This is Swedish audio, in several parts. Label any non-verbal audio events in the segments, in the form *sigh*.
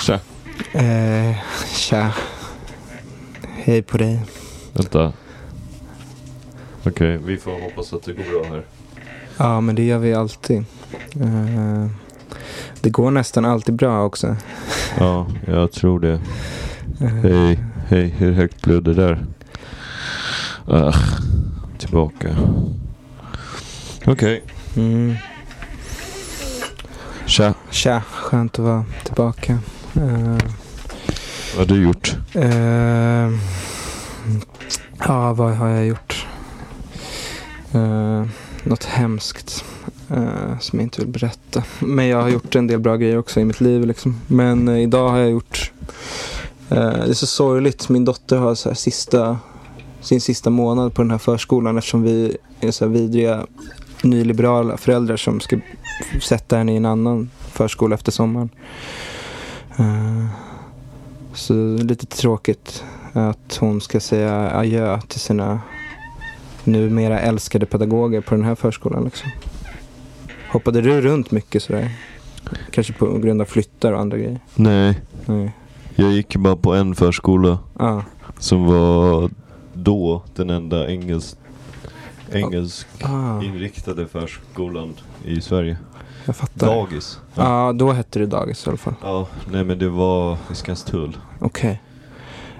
Tja. Eh, tja. Hej på dig. Vänta. Okej, vi får hoppas att det går bra här. Ja, men det gör vi alltid. Eh, det går nästan alltid bra också. Ja, jag tror det. Eh, Hej, hej, hur högt blev det där? Ah, tillbaka. Okej. Mm. Tja, Tja, skönt att vara tillbaka. Eh, vad har du gjort? eh, ja, vad har jag gjort? Eh, något hemskt eh, som jag inte vill berätta. Men jag har gjort en del bra grejer också i mitt liv. Liksom. Men eh, idag har jag gjort... eh, det är så sorgligt. Min dotter har så här sista, sin sista månad på den här förskolan eftersom vi är så här vidriga nyliberala föräldrar som ska f- sätta henne i en annan förskola efter sommaren. Eh, så lite tråkigt att hon ska säga adjö till sina numera älskade pedagoger på den här förskolan. Liksom. Hoppade du runt mycket sådär? Kanske på grund av flyttar och andra grejer? Nej, Nej. jag gick bara på en förskola Ah, som var då den enda engelsk, engelsk ah, inriktade förskolan i Sverige. jag fattar. Ja, Dagis. ah, då hette det dagis i alla fall. Ja, nej men det var i Skanstull. Okej.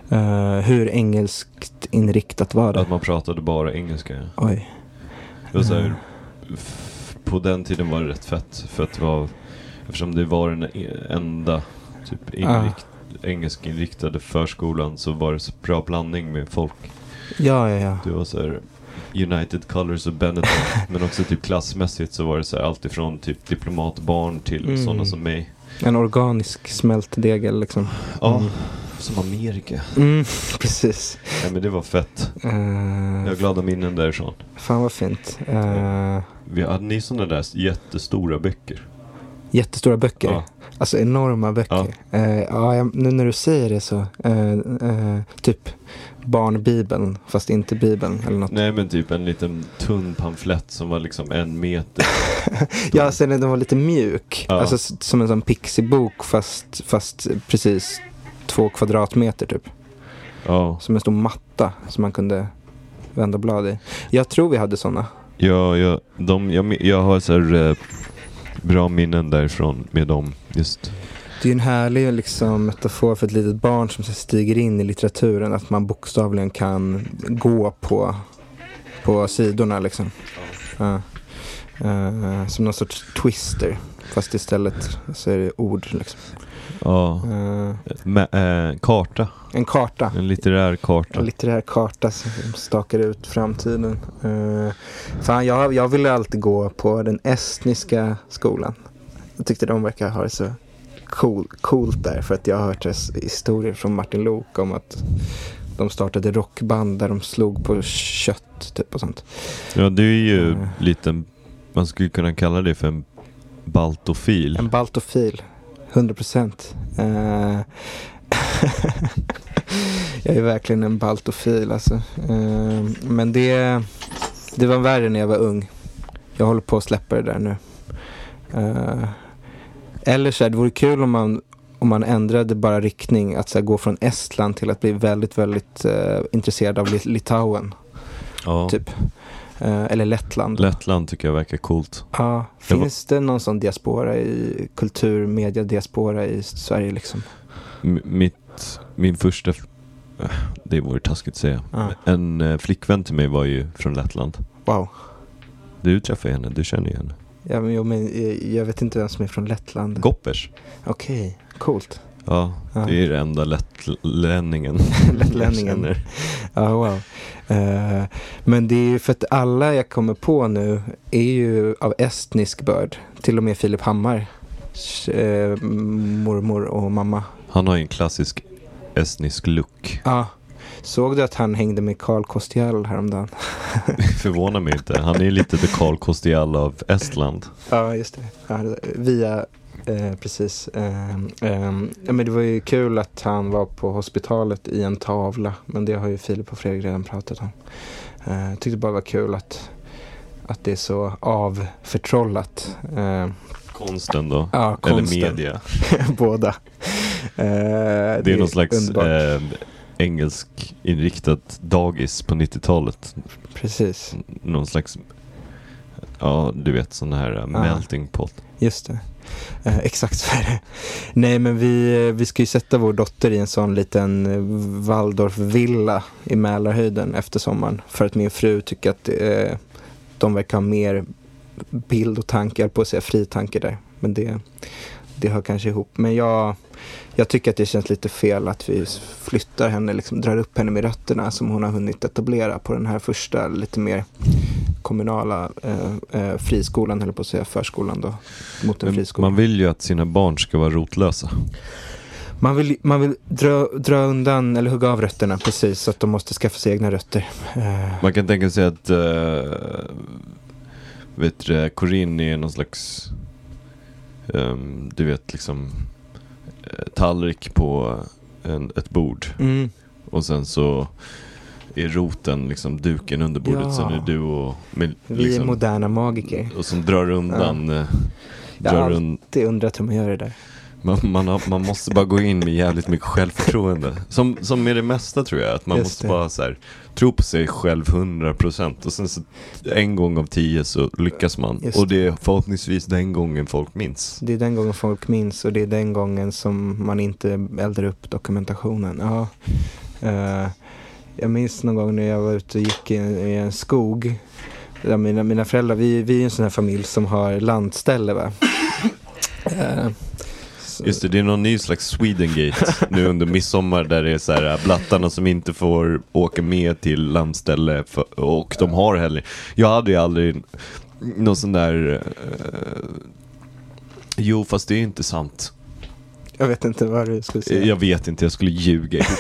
Eh, hur engelskt inriktat var det? Att man pratade bara engelska. Oj. Det var så här, f- på den tiden var det rätt fett. För att det var, eftersom det var den e- enda typ inrikt, engelskinriktade förskolan så var det så bra blandning med folk. Ja, ja, ja. Det var så här, United Colors och *laughs* Benetton. men också typ klassmässigt så var det så här, allt ifrån typ diplomatbarn till Mm. sådana som mig. En organisk smältdegel liksom. Ja, Mm. som Amerika. Mm, *laughs* precis. Ja, men det var fett. Eh, Jag har glada minnen därifrån. Fan vad fint. Eh, Vi hade ni sådana där jättestora böcker? jättestora böcker. Ja. Alltså enorma böcker. Ja. ja, jag, nu när du säger det så. eh, eh, typ barnbibeln, fast inte bibeln eller något. Nej men typ en liten tunn pamflett som var liksom en meter. Ja, sen den var lite mjuk. Ja. Alltså s- som en sån pixibok fast, fast precis två kvadratmeter typ. Ja, Som en stor matta som man kunde vända blad i. Jag tror vi hade sådana. ja, ja de, jag, mi- jag har så här, eh, bra minnen därifrån med dem. Just. Det är ju en härlig liksom, metafor för ett litet barn som så stiger in i litteraturen. Att man bokstavligen kan gå på, på sidorna. Liksom. Ja. Eh, som någon sorts twister. Fast istället så är det ord. Liksom. Ja, Eh, med, eh, karta. en karta. En litterär En karta. litterär karta som stakar ut framtiden. Eh, fan, jag, jag ville alltid gå på den estniska skolan. Jag tyckte de verkar ha det så cool, coolt där. För att jag har hört res- historier från Martin Lok om att de startade rockband där de slog på kött typ och sånt. Ja, det är ju Mm. liten, man skulle kunna kalla det för en baltofil. En baltofil. 100 procent. Eh, *laughs* jag är verkligen en baltofil alltså. Eh, men det, det var värre när jag var ung. Jag håller på att släppa det där nu. Eh, eller så här, det vore kul om man, om man ändrade bara riktning. Att så här, gå från Estland till att bli väldigt, väldigt eh, intresserad av Lit- Litauen. Ja. Typ. Eh, eller Lettland. Lettland tycker jag verkar coolt. Ja, Det var- finns det någon sån diaspora i kultur, media, diaspora i Sverige liksom? M- mitt, min första, f- eh, det vore taskigt att säga. Ja. En eh, flickvän till mig var ju från Lettland. Wow. Du träffade henne, du känner ju henne. Ja, men, jo, men eh, jag vet inte vem som är från Lettland. Goppers. Okej, coolt. Ja, Ja. *laughs* det är den enda lettlänningen jag Lettlänningen. känner. Ja, wow. Eh, men det är ju för att alla jag kommer på nu är ju av estnisk börd. Till och med Filip Hammar, eh, mormor och mamma. Han har ju en klassisk estnisk look. *laughs* Ja, såg du att han hängde med Carl Kostial häromdagen? Förvånar mig inte. Han är ju lite the Carl Costial av Estland. Ja, just det. Ja, det- via, eh, precis. Ehm, ehm, ja, men det var ju kul att han var på hospitalet i en tavla. Men det har ju Filip och Fredrik redan pratat om. Eh, Jag tyckte bara det var kul att, att det är så avförtrollat. Eh, Konsten då. ja, Eller konsten. media. *laughs* Båda. Eh, det är någon slags eh, engelsk inriktat dagis på 90-talet. Precis, Någon slags, ja du vet sån här eh, melting pot. just det. Eh, *laughs* exakt så är det. Nej, men vi, eh, vi ska ju sätta vår dotter i en sån liten eh, Waldorfvilla i Mälarhöjden efter sommaren. För att min fru tycker att eh, de verkar ha mer bild och tankar på sig, fritankar där. Men det, det hör kanske ihop. Men jag, jag tycker att det känns lite fel att vi flyttar henne, liksom drar upp henne med rötterna som hon har hunnit etablera på den här första lite mer kommunala eh, eh, friskolan, höll jag på att säga, förskolan då, mot en Men friskola. Man vill ju att sina barn ska vara rotlösa. Man vill, man vill dra, dra undan eller hugga av rötterna precis så att de måste skaffa sig egna rötter. Eh, Man kan tänka sig att eh, vet du, det, Corinne är någon slags ehm, du vet liksom eh, tallrik på en, ett bord mm, och sen så är roten liksom duken under bordet Ja. sen är du och med, vi är liksom, moderna magiker. och som drar undan eh, Ja, drar allt. un, Det undrar hur man gör det där. man, man, har, man måste bara gå in med jävligt mycket självförtroende. Som, som med det mesta tror jag, att man Just måste det. bara så här, tro på sig själv 100% och sen så en gång av tio så lyckas man. Just och det är förhoppningsvis den gången folk minns. Det är den gången folk minns och det är den gången som man inte eldar upp dokumentationen. Ja. Eh, jag minns någon gång när jag var ute och gick i en, i en skog. Där mina, mina föräldrar, vi, vi är en sån här familj som har *laughs* landställe va. Eh, så- Just det, det är någon ny slags Swedengate nu under midsommar där det är så här äh, blattarna som inte får åka med till landställe för, och de har heller. Jag hade ju aldrig någon sån där eh, Jo, fast det är inte sant. Jag vet inte vad du skulle säga. Jag vet inte, jag skulle ljuga *laughs* ihop.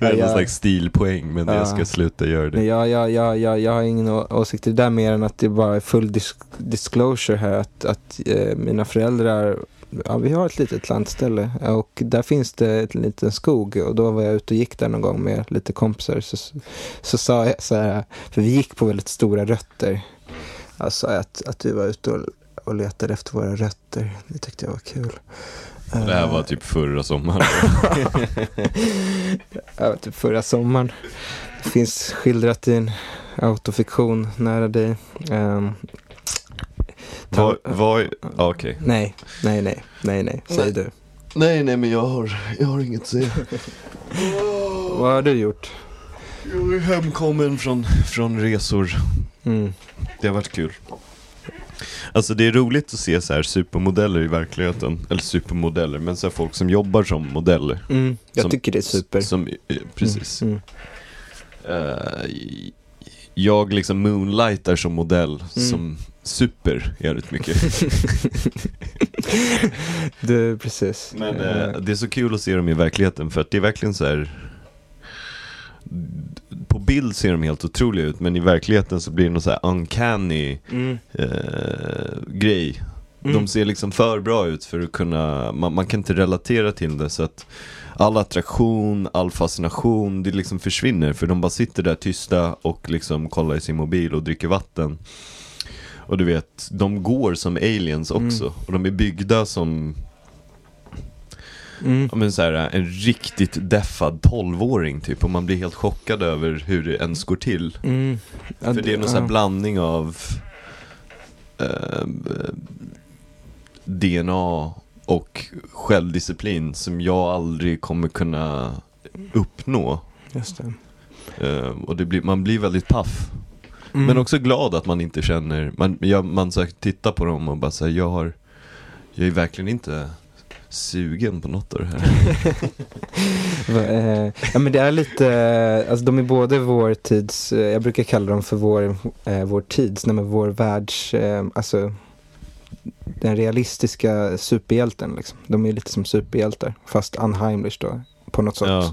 Det är någon Jag- slags stilpoäng, men Ja. jag ska sluta göra det. Nej, jag, jag, jag, jag, jag har ingen å- åsikt i det där mer än att det bara är full dis disclosure här. Att, att eh, mina föräldrar, ja, vi har ett litet landställe eh, och där finns det en liten skog och då var jag ute och gick där någon gång med lite kompisar. Så, så, sa jag så här, för vi gick på väldigt stora rötter. Jag sa att, att du var ute och, och letade efter våra rötter. Det tyckte jag var kul. Det här Eh, var typ förra *laughs* sommaren. Ja, typ förra sommaren. Det finns skildrat i en autofiktion nära dig. Ehm, Vad, vad, ja, okej. nej, nej, nej, nej, nej, säger Nej. du. Nej, nej, men jag har, jag har inget att *laughs* säga. Ah, Vad har du gjort? Jag är hemkommen från, från resor. Mm. Det har varit kul. Alltså det är roligt att se så här supermodeller i verkligheten. Eller supermodeller, men så här folk som jobbar som modeller. Mm. Jag Som- tycker det är super. Som, eh, precis. Mm. Eh, jag liksom moonlightar som modell, som super jävligt mycket. *laughs* Du, precis. Men Eh, eh, det är så kul att se dem i verkligheten för att det är verkligen så här. På bild ser de helt otroliga ut men i verkligheten så blir det någon så här uncanny mm. eh, grej. Mm. De ser liksom för bra ut för att kunna, man, man kan inte relatera till det så att all attraktion, all fascination, det liksom försvinner för de bara sitter där tysta och liksom kollar i sin mobil och dricker vatten. Och du vet, de går som aliens också och de är byggda som, Mm. ja, men så här, en riktigt deffad tolvåring typ och man blir helt chockad över hur det ens går till. Mm. Ja, För det är någon sån här blandning av eh, DNA och självdisciplin som jag aldrig kommer kunna uppnå. Just det. Eh, och det blir, man blir väldigt paff. Mm. Men också glad att man inte känner, man, jag, man så här tittar på dem och bara säger jag har, jag är verkligen inte sugen på något av det här. Va- eh, Ja men det är lite, eh, alltså de är både vår tids, eh, jag brukar kalla dem för vår, eh, vår tids, nej men vår världs, eh, alltså den realistiska superhjälten liksom. De är lite som superhjältar, fast Unheimlich då, på något sorts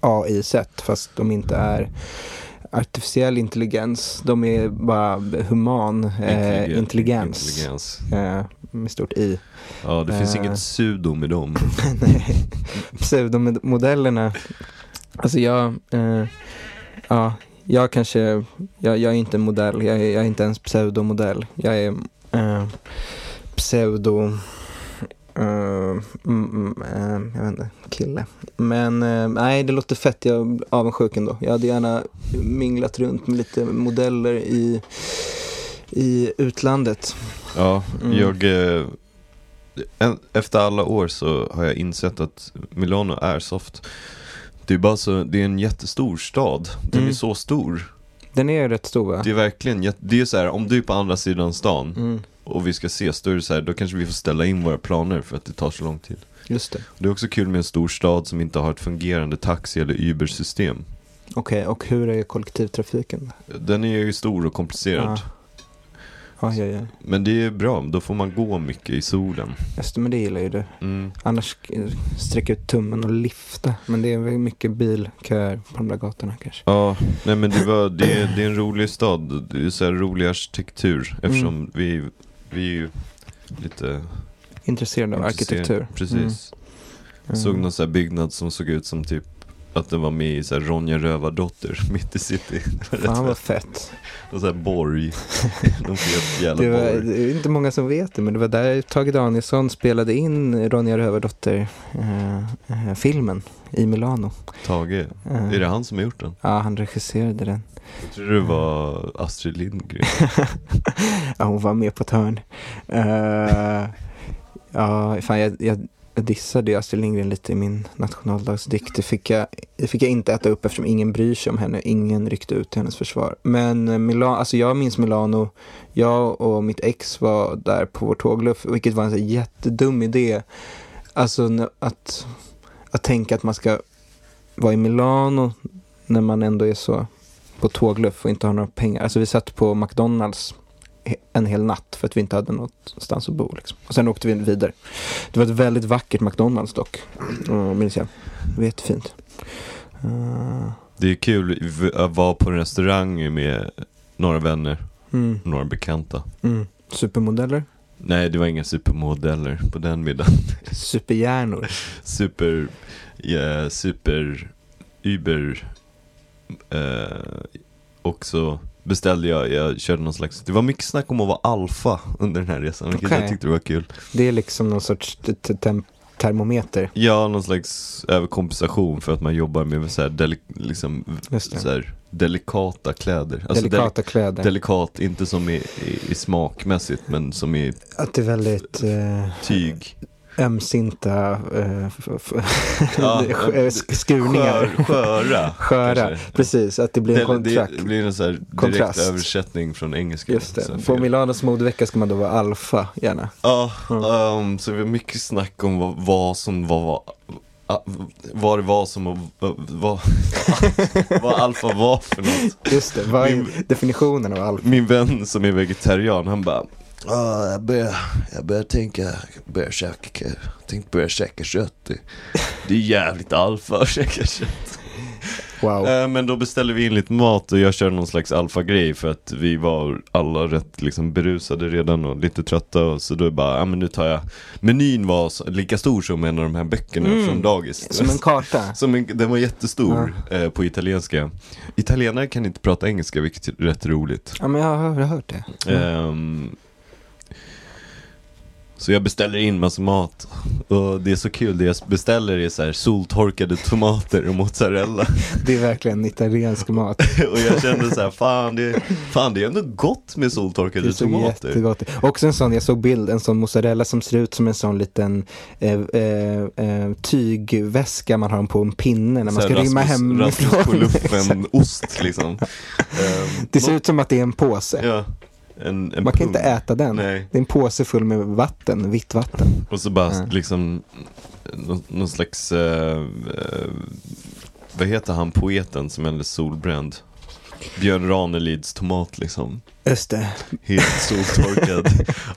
AI-sätt, fast de inte är artificiell intelligens. De är bara human *laughs* eh, intelligens. intelligens. Eh, med stort i. Ja, det finns Eh. inget pseudo med dem. Nej, pseudomodellerna. Alltså jag, eh, ja, jag kanske, jag, jag är inte en modell, jag är, jag är inte ens pseudomodell. Jag är eh, pseudo, Eh, mm, mm, eh, jag vet inte, kille. Men eh, nej, det låter fett. Jag är avundsjuk ändå. Jag hade gärna minglat runt med lite modeller i, i utlandet. Ja, Mm. jag... eh, en- Efter alla år så har jag insett att Milano är soft. Det är, bara så, det är en jättestor stad. Den Mm. är så stor. Den är ju rätt stor va? Det är verkligen jätte, Det är så här, om du är på andra sidan stan Mm, och vi ska ses, då är det så här, då kanske vi får ställa in våra planer för att det tar så lång tid. just det. Det är också kul med en stor stad som inte har ett fungerande taxi eller Uber-system. Okej, och hur är kollektivtrafiken? Den är ju stor och komplicerad. Ja. Ja, ja, ja. Men det är bra, då får man gå mycket i solen. Just det, men det gillar ju du. Mm. Annars eh, sträcker ut tummen och lyfta. Men det är väl mycket bilköer på de där gatorna kanske. Ja, nej men det, var, det, är, det är en rolig stad. Det är så här rolig Mm. arkitektur eftersom vi, vi är ju lite Intresserad av intresserade. arkitektur. Precis. Mm. Såg någon så här byggnad som såg ut som typ att den var med i så här Ronja Rövardotter *laughs* mitt i city. Det var *laughs* Fan rätt *laughs* vad fett. fett. Någon så här borg. *laughs* Någon fet jävla Det, var, borg. det är inte många som vet det, men det var där Tage Danielsson spelade in Ronja Rövardotter-filmen i Milano. Tage, Eh, är det han som har gjort den? Ja, han regisserade den. Jag tror det var Astrid Lindgren. *laughs* ja, hon var med på ett hörn. Eh, ja, fan, jag, jag, jag dissade ju Astrid Lindgren lite i min nationaldagsdikt. Det fick, jag, det fick jag inte äta upp eftersom ingen bryr sig om henne. Ingen ryckte ut till hennes försvar. Men eh, Milano, alltså jag minns Milano. Jag och mitt ex var där på vår tågluff, vilket var en så här jättedum idé. Alltså n- att, att tänka att man ska vara i Milano när man ändå är så på tågluff och inte har några pengar. Alltså vi satt på McDonalds he- en hel natt för att vi inte hade någonstans att bo. Liksom. Och sen åkte vi vidare. Det var ett väldigt vackert McDonalds dock, mm, minns jag. Det var jättefint. Eh, Det är kul v- att vara på en restaurang med några vänner, mm, några bekanta. mm. Supermodeller, Nej, det var inga supermodeller på den middagen. superhjärnor. Super, ja, super, uber. Eh, och så beställde jag, jag körde någon slags, det var mycket snack om att vara alfa under den här resan, vilket Okej. jag tyckte det var kul. Det är liksom någon sorts t- t- tem- termometer. Ja, någon slags överkompensation för att man jobbar med så här, deli- liksom, Just det. så här delikata kläder. Alltså, deli- Delikata kläder. Delikat, inte som i, i, i smakmässigt men som i att det är väldigt eh, tyg. ömsinta eh, f- f- *laughs* Ja, sk- skurningar. Skör, sköra. Sköra. kanske. Precis, att *laughs* det blir en Det, det, kontrakt. blir en så här direkt Kontrast. översättning från engelska. Just Så här det. På fel. Milanos modevecka ska man då vara alfa, gärna. Ja, Mm. ehm, så det var mycket snack om vad, vad som var, ah, vad det var som, var- vad, *laughs* vad alfa var för något. Just det, vad Min- är definitionen av alfa? Min vän som är vegetarian, han bara Ja, jag börjar, jag börjar tänka, jag börjar käka, jag tänkte börja käka kött. Det, det är jävligt alfa att käka kött. Wow. Eh, Men då beställde vi in lite mat och jag körde någon slags alfa-grej för att vi var alla rätt liksom berusade redan och lite trötta och så då bara, ja men nu tar jag Menyn var så- lika stor som en av de här böckerna Mm. från dagis Som en *laughs* karta. Som en- den var jättestor eh, på italienska Italienare kan inte prata engelska vilket är rätt roligt Ja, men jag har hört det. Ehm, så jag beställer in massa mat och det är så kul, det jag beställer är så här soltorkade tomater och mozzarella Det är verkligen italiensk mat. *laughs* Och jag kände så här, fan det, fan det är ändå gott med Det är soltorkade så tomater. jättegott. Också en sån, jag såg bild, en sån mozzarella som ser ut som en sån liten eh, eh, eh, tygväska man har på en pinne när man Så här ska rymma Rasmus- Rasmus på hemifrån. *laughs* luffen-ost liksom. Ehm, Det ser ut som att det är en påse. Ja, en, en Man kan pung. inte äta den. Nej, Det är en påse full med vatten, vitt vatten. och så bara Mm. liksom någon, någon slags, eh, eh, vad heter han poeten som är alldeles solbränd? Björn Ranelids tomat liksom. Just det, Helt *laughs* soltorkad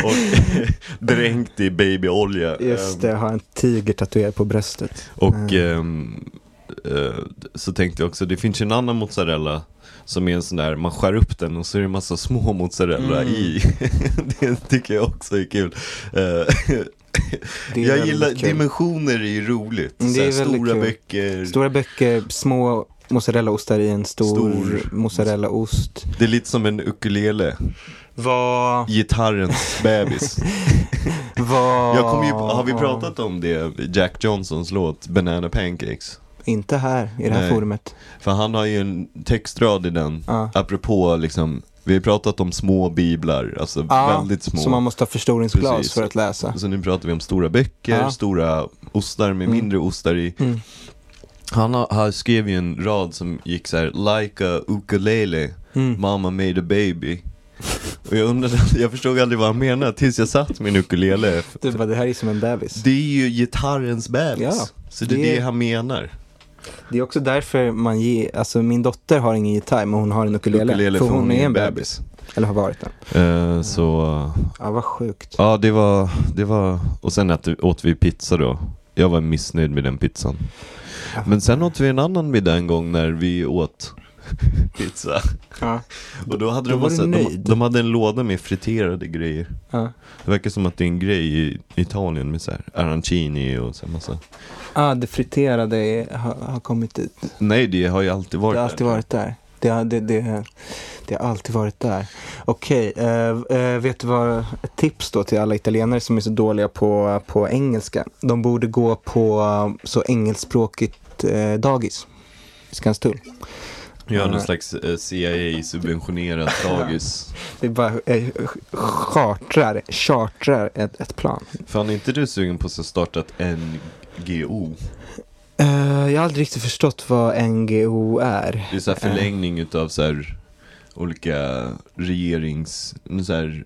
och *laughs* dränkt i babyolja. just Ehm, det. Jag har en tiger tatuerad på bröstet. Och Mm. ehm, eh, så tänkte jag också, det finns ju en annan mozzarella som är en sån där, man skär upp den och så är det en massa små *laughs* mozzarella Mm. i. *laughs* det tycker jag också är kul. *laughs* Eh, Det är jag väldigt gillar, kul. dimensioner är ju roligt. Mm, det så här, är väldigt stora kul. böcker, Stora böcker, små mozzarellaostar i en stor, Stor. mozzarellaost. det är lite som en ukulele, Vad, *laughs* gitarrens bebis. Vad? Jag kommer ju, har Ah. vi pratat om det, Jack Johnsons låt Banana Pancakes? Inte här, i det här Nej. forumet. För han har ju en textrad i den, Ja. apropå liksom, vi har pratat om små biblar, alltså Ja, väldigt små. Så man måste ha förstoringsglas Precis. för att läsa. Så nu pratar vi om stora böcker, Ja. stora ostar med Mm. mindre ostar i. Mm. Han, har, han skrev ju en rad som gick så här, like a ukulele, Mm. mama made a baby. Och jag undrade, *laughs* jag förstod aldrig vad han menade tills jag satt med en ukulele. Du bara, det här är som en bebis. Det är ju gitarrens bebis. Ja, så det är det- det han menar. Det är också därför man ger, alltså min dotter har ingen gitarr men hon har en ukulele. för hon, är en bebis. Eller har varit den. Eh, så, Ja, vad sjukt. ja det var, det var, och sen att, åt vi pizza då. Jag var missnöjd med den pizzan. Men sen åt vi en annan middag en gång när vi åt *laughs* pizza. Ja. Och då hade Då de, var du massa, de, nöjd. de hade en låda med friterade grejer. Ja. Det verkar som att det är en grej i Italien med så här arancini och så här massa. Ah, det friterade är- har, har kommit dit. Nej, det har ju alltid varit Det har alltid där. varit där. Det har, det, det, det har alltid varit där. Okej, eh, eh, vet du vad? Ett tips då till alla italienare som är så dåliga på, på engelska. De borde gå på eh, så engelskspråkigt eh, dagis. i Skanstull. Ja, någon slags eh, *laughs* CIA-subventionerat dagis. Det är bara eh, chartrar, chartrar ett, ett plan. Fan, är inte du sugen på att starta ett NGO? Eh, jag har aldrig riktigt förstått vad NGO är. Det är så Eh. här förlängning utav så här olika regerings, så här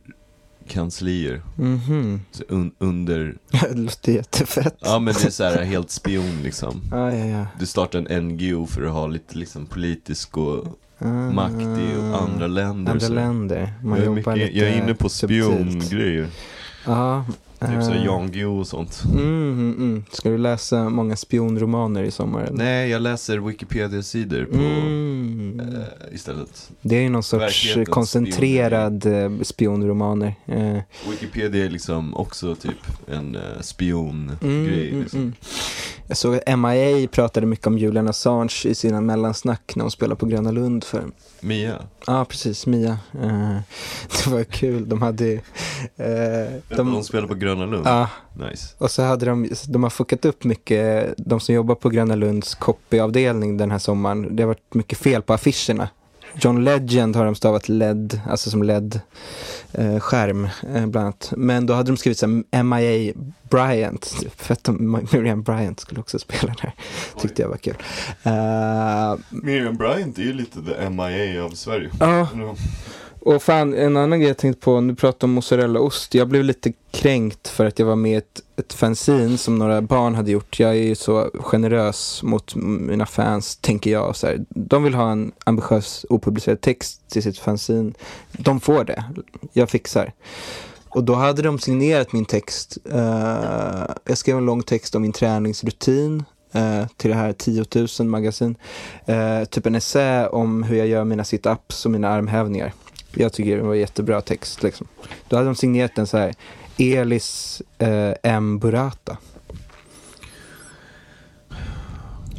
kanslier. Mhm. *laughs* Så un, under, Det låter jättefett. ja men det är så här helt spion liksom. Ah, ja, ja. Du startar en NGO för att ha lite liksom politisk och Ah, makt i andra länder. andra så. länder. Man jag, är jobbar mycket, lite jag är inne på subtilt. spiongrejer. Ja. Typ så här eh, Jan Guillou och sånt. Mm, mm, mm. Ska du läsa många spionromaner i sommar? eller? Nej, jag läser Wikipedia-sidor på Mm. eh, istället. Det är ju någon sorts verklighetens koncentrerad eh, spionromaner. Eh, Wikipedia är liksom också typ en eh, spiongrej. Mm, mm, liksom. mm. Jag såg att MIA pratade mycket om Julian Assange i sina mellansnack när hon spelade på Gröna Lund för Mia, Ja, precis. Mia. Eh, *laughs* det var kul. De hade ju... eh, de... de, hon spelar på Gröna Lund. ja, Nice. och så hade de... De har fuckat upp mycket. De som jobbar på Gröna Lunds copyavdelning den här sommaren. Det har varit mycket fel på affischerna. John Legend har de stavat LED, alltså som LED-skärm eh, bland annat. Men då hade de skrivit så här, MIA Bryant, typ, för att de, Miriam Bryant skulle också spela där. Tyckte jag var kul. Eh, Miriam Bryant är ju lite the MIA av Sverige. Ja, Och fan, en annan grej jag tänkte på, nu pratar om mozzarellaost. Jag blev lite kränkt för att jag var med i ett, ett fanzine som några barn hade gjort. Jag är ju så generös mot m- mina fans, tänker jag. Så här. De vill ha en ambitiös opublicerad text till sitt fanzine. De får det. Jag fixar. Och då hade de signerat min text. Eh, jag skrev en lång text om min träningsrutin eh, till det här 10 000 magasin. Eh, typ en essä om hur jag gör mina sit-ups och mina armhävningar. Jag tycker det var jättebra text. Liksom. Då hade de signerat den så här. Elis eh, M. Burata.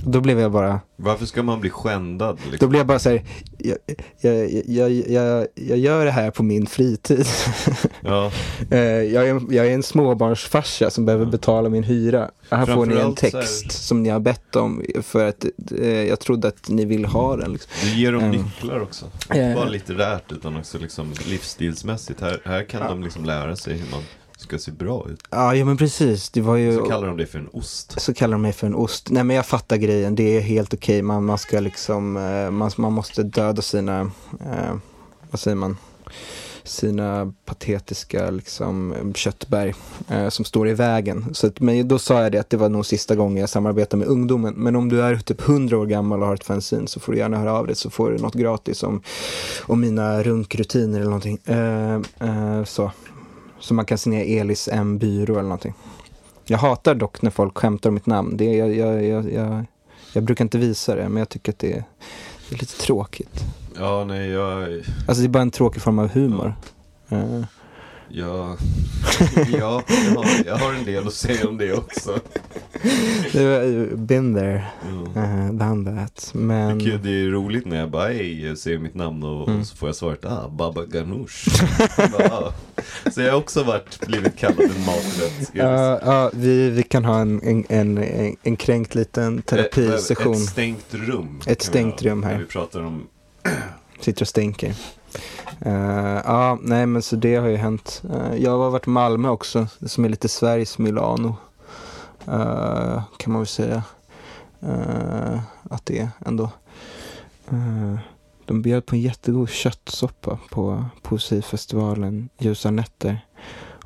Då blev jag bara, Varför ska man bli skändad då liksom? blev jag bara så här, jag, jag, jag, jag, jag gör det här på min fritid. *laughs* Ja, Eh, jag, är en, jag är en småbarnsfarsa som behöver betala min hyra. Här får ni en Framförallt så här- text som ni har bett om för att eh, jag trodde att ni ville ha den. Liksom. du ger dem Mm. nycklar också. Inte Eh. bara litterärt utan också liksom livsstilsmässigt. Här, här kan de liksom lära sig hur man ska se bra ut. Ja, ja, men precis. Det var ju... Så kallar de det för en ost. så kallar de mig för en ost. Nej men jag fattar grejen, det är helt okej. Man, man ska liksom, eh, man, man måste döda sina, eh, vad säger man, sina patetiska liksom eh, köttberg eh, som står i vägen. Så att, men då sa jag det att det var nog sista gången jag samarbetade med ungdomen. Men om du är typ 100 år gammal och har ett fanzine så får du gärna höra av dig så får du något gratis om, om mina runkrutiner eller någonting. Eh, eh, så. så man kan signera Elis M byrå eller någonting. Jag hatar dock när folk skämtar om mitt namn. Det, jag, jag, jag, jag, jag brukar inte visa det, men jag tycker att det är, det är lite tråkigt. Ja, nej, jag... Alltså det är bara en tråkig form av humor. Eh, Ja, *laughs* ja jag, har, jag har en del att säga om det också. det var ju been there, Ja. uh, done that. Men... Tycker Det är roligt när jag bara, hej, jag ser mitt namn och, Mm. och så får jag svaret, ah, Baba Ganoush. Jag bara, ah, Så jag har också varit, blivit kallad en maträtt. *laughs* Ja, ja, vi, vi kan ha en, en, en, en- en kränkt liten Eh, terapisession. Ett stängt rum. kan vi stängt ha, rum här. när Vi pratar om Sitter och stänker. Eh, ja, nej men så det har ju hänt. Eh, jag har varit i Malmö också, som är lite Sveriges Milano. eh, kan man väl säga eh, att det är ändå. Eh, de bjöd på en jättegod köttsoppa på poesifestivalen Ljusa nätter.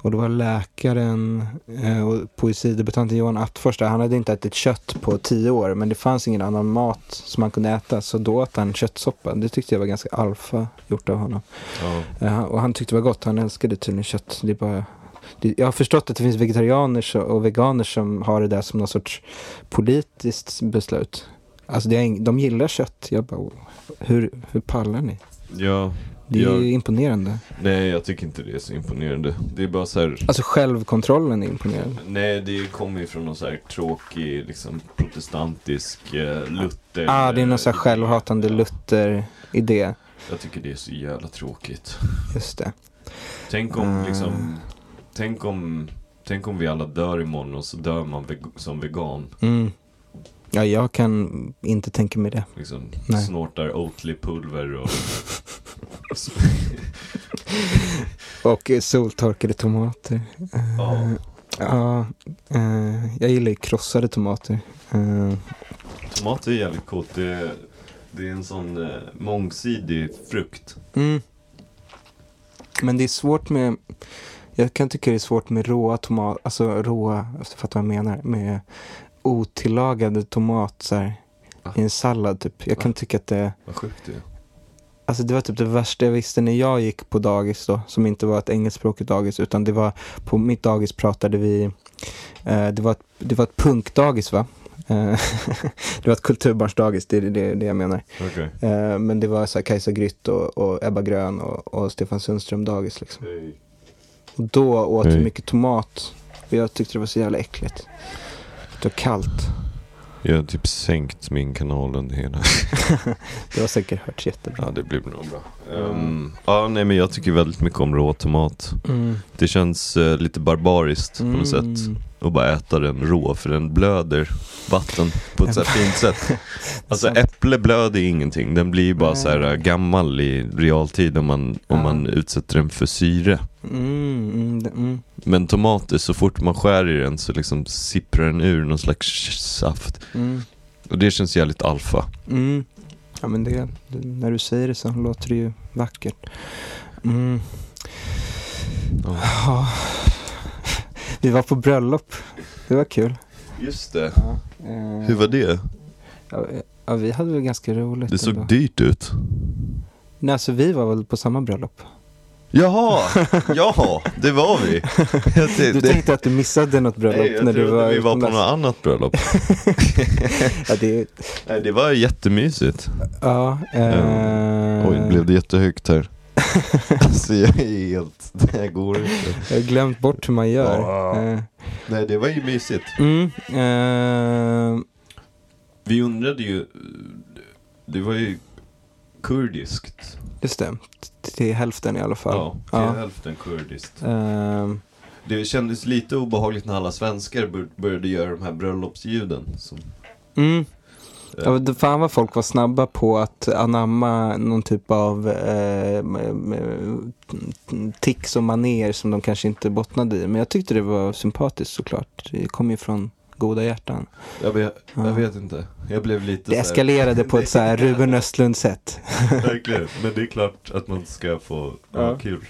Och det var läkaren eh, och poesidebutanten Johan Attfors där. Han hade inte ätit kött på tio år men det fanns ingen annan mat som han kunde äta. Så då åt han köttsoppa. Det tyckte jag var ganska alfa gjort av honom. ja, Eh, han- och han tyckte det var gott. Han älskade tydligen kött. Det är bara... det, jag har förstått att det finns vegetarianer så- och veganer som har det där som någon sorts politiskt beslut. Alltså det är, ing- de gillar kött. Jag bara, "Oh, hur, hur pallar ni? ja, Det är Jag- ju imponerande. nej jag tycker inte det är så imponerande. Det är bara så här, Alltså självkontrollen är imponerande. nej det kommer ju från någon så här tråkig, liksom protestantisk eh, Luther. Ja, ah, det är någon sån här eh, självhatande ja. Luther-idé. Jag tycker det är så jävla tråkigt. Just det. Tänk om Mm. liksom, tänk om, tänk om vi alla dör imorgon och så dör man veg- som vegan. Mm. Ja, jag kan inte tänka mig det. Liksom Nej. snortar Oatly-pulver och Och eh, soltorkade tomater. Eh, Ja. Ja, eh, jag gillar ju krossade tomater. Eh, tomater är jävligt coolt. Det är, det är en sån eh, mångsidig frukt. mm. Men det är svårt med, jag kan tycka det är svårt med råa tomater, alltså råa, jag fattar vad jag menar, med otillagade tomat så här, Va? i en sallad typ. Jag kan tycka att det, Vad sjukt det är. Alltså det var typ det värsta jag visste när jag gick på dagis då, som inte var ett engelskspråkigt dagis, utan det var, på mitt dagis pratade vi, eh, det, var ett, det var ett punkdagis va? Eh, *laughs* det var ett kulturbarnsdagis, det är det, det jag menar. Okej. Eh, men det var så här Kajsa Grytt och, och Ebba Grön och, och Stefan Sundström dagis liksom. Och då åt vi Hej. mycket tomat, och jag tyckte det var så jävla äckligt. Det var kallt. Jag har typ sänkt min kanal under hela. Det har säkert hört jättebra. Ja, det blir nog bra. Ehm, ja, nej men jag tycker väldigt mycket om rå tomat. Det känns eh, lite barbariskt Mm. Mm. på något sätt. och bara äta den rå för den blöder vatten på ett så här fint *laughs* sätt. Alltså Sant. äpple blöder ingenting, den blir bara så här Nej. äh, gammal i realtid om man, om Ja. man utsätter den för syre. Mm, mm, det- mm. Men tomater, så fort man skär i den så liksom sipprar den ur någon slags saft. Mm. Och det känns jävligt alfa. Mm. Ja, men det, det, när du säger det så låter det ju vackert. Mm. Ja. Ja. Vi var på bröllop. Det var kul. Just det. Ja, Hur var det? Ja, ja, vi hade väl ganska roligt. Det såg ändå. dyrt ut. Nej, alltså vi var väl på samma bröllop. Jaha, ja, det var vi. Jag *laughs* Du det- tänkte att du missade något bröllop Nej, jag när du trodde var vi var på utomlands. något annat bröllop. *laughs* Ja, det, Nej, det var jättemysigt. ja, eh, Oj, blev det jättehögt *laughs* här? alltså jag är helt, det här går inte. eh, Jag har glömt bort hur man gör. Ja. Eh, Nej, det var ju mysigt. Mm, eh, Vi undrade ju, det var ju kurdiskt. just det, till hälften i alla fall. Ja, till Ja. hälften kurdiskt. Ehm, Det kändes lite obehagligt när alla svenskar bör- började göra de här bröllopsljuden. Som, mm. eh, Ja, det- fan vad folk var snabba på att anamma någon typ av eh, m- m- tics och maner som de kanske inte bottnade i. Men jag tyckte det var sympatiskt såklart. Det kom ju från goda hjärtan. jag, vet, Ja. jag vet inte, jag blev lite Det så här- eskalerade på ett så här Ruben Östlund-sätt. *laughs* Verkligen, men det är klart att man ska få Ja. ha kul.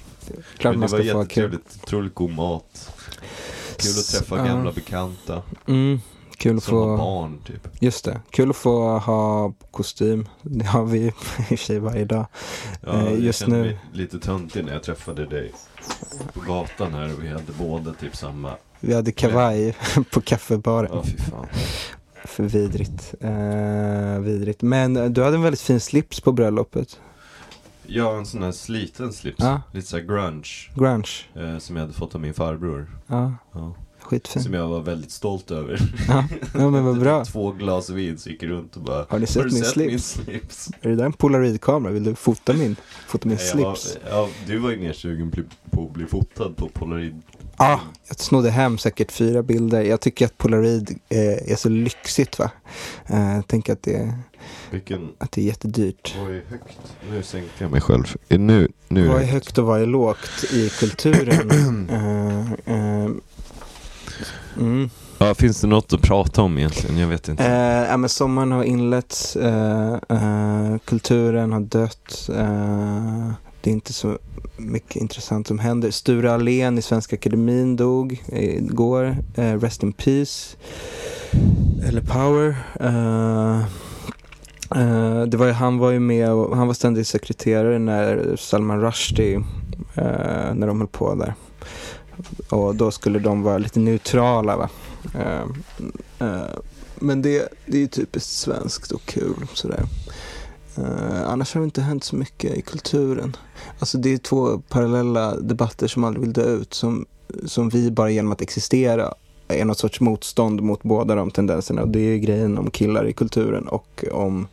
Klart men det man var ska få ha kul. jättetrevligt, otroligt god mat. Kul att träffa Ja. gamla bekanta. Mm, kul att Som var få, barn typ. just det, kul att få ha kostym. Det har vi *laughs* ju i och för sig varje dag. Eh, jag just kände nu- mig lite töntig när jag träffade dig på gatan här och vi hade båda typ samma. Vi hade kavaj *laughs* på kaffebaren. Ja, fy fan. För vidrigt. Eh, vidrigt. Men eh, du hade en väldigt fin slips på bröllopet. Ja, en sån här sliten slips. Ja. Lite såhär grunge. Grunge. Eh, som jag hade fått av min farbror. Ja. Ja. Skitfin. Som jag var väldigt stolt över. Typ Ja, ja men vad bra. Två glas vin så gick jag runt och bara Har ni sett min slips? slips? Är det där en polaroidkamera? Vill du fota min, fota min Nej, jag var- slips? Ja, du var ju mer sugen pli- på att bli fotad på polaroid. Ja, jag snodde hem säkert fyra bilder. Jag tycker att polaroid eh, är så lyxigt va. Eh, jag tänker att det, Vilken... att det är jättedyrt. Vad är högt? Nu sänkte jag mig själv. Eh, Nu, nu Vad är är högt och vad är lågt i kulturen? Eh, eh, mm. ja, Finns det något att prata om egentligen? Jag vet inte. Eh, ja, men sommaren har inletts, eh, eh, kulturen har dött. Eh, det är inte så mycket intressant som händer. Sture Allén i Svenska Akademin dog igår. Eh, rest in peace. Eller power. Eh, eh, det var ju, han var ju med och han var ständig sekreterare när Salman Rushdie, eh, när de höll på där. Och då skulle de vara lite neutrala va. Eh, eh, men det, det är ju typiskt svenskt och kul sådär. Eh, annars har det inte hänt så mycket i kulturen. Alltså det är två parallella debatter som aldrig vill dö ut. Som, som vi bara genom att existera är något sorts motstånd mot båda de tendenserna. Och det är ju grejen om killar i kulturen och om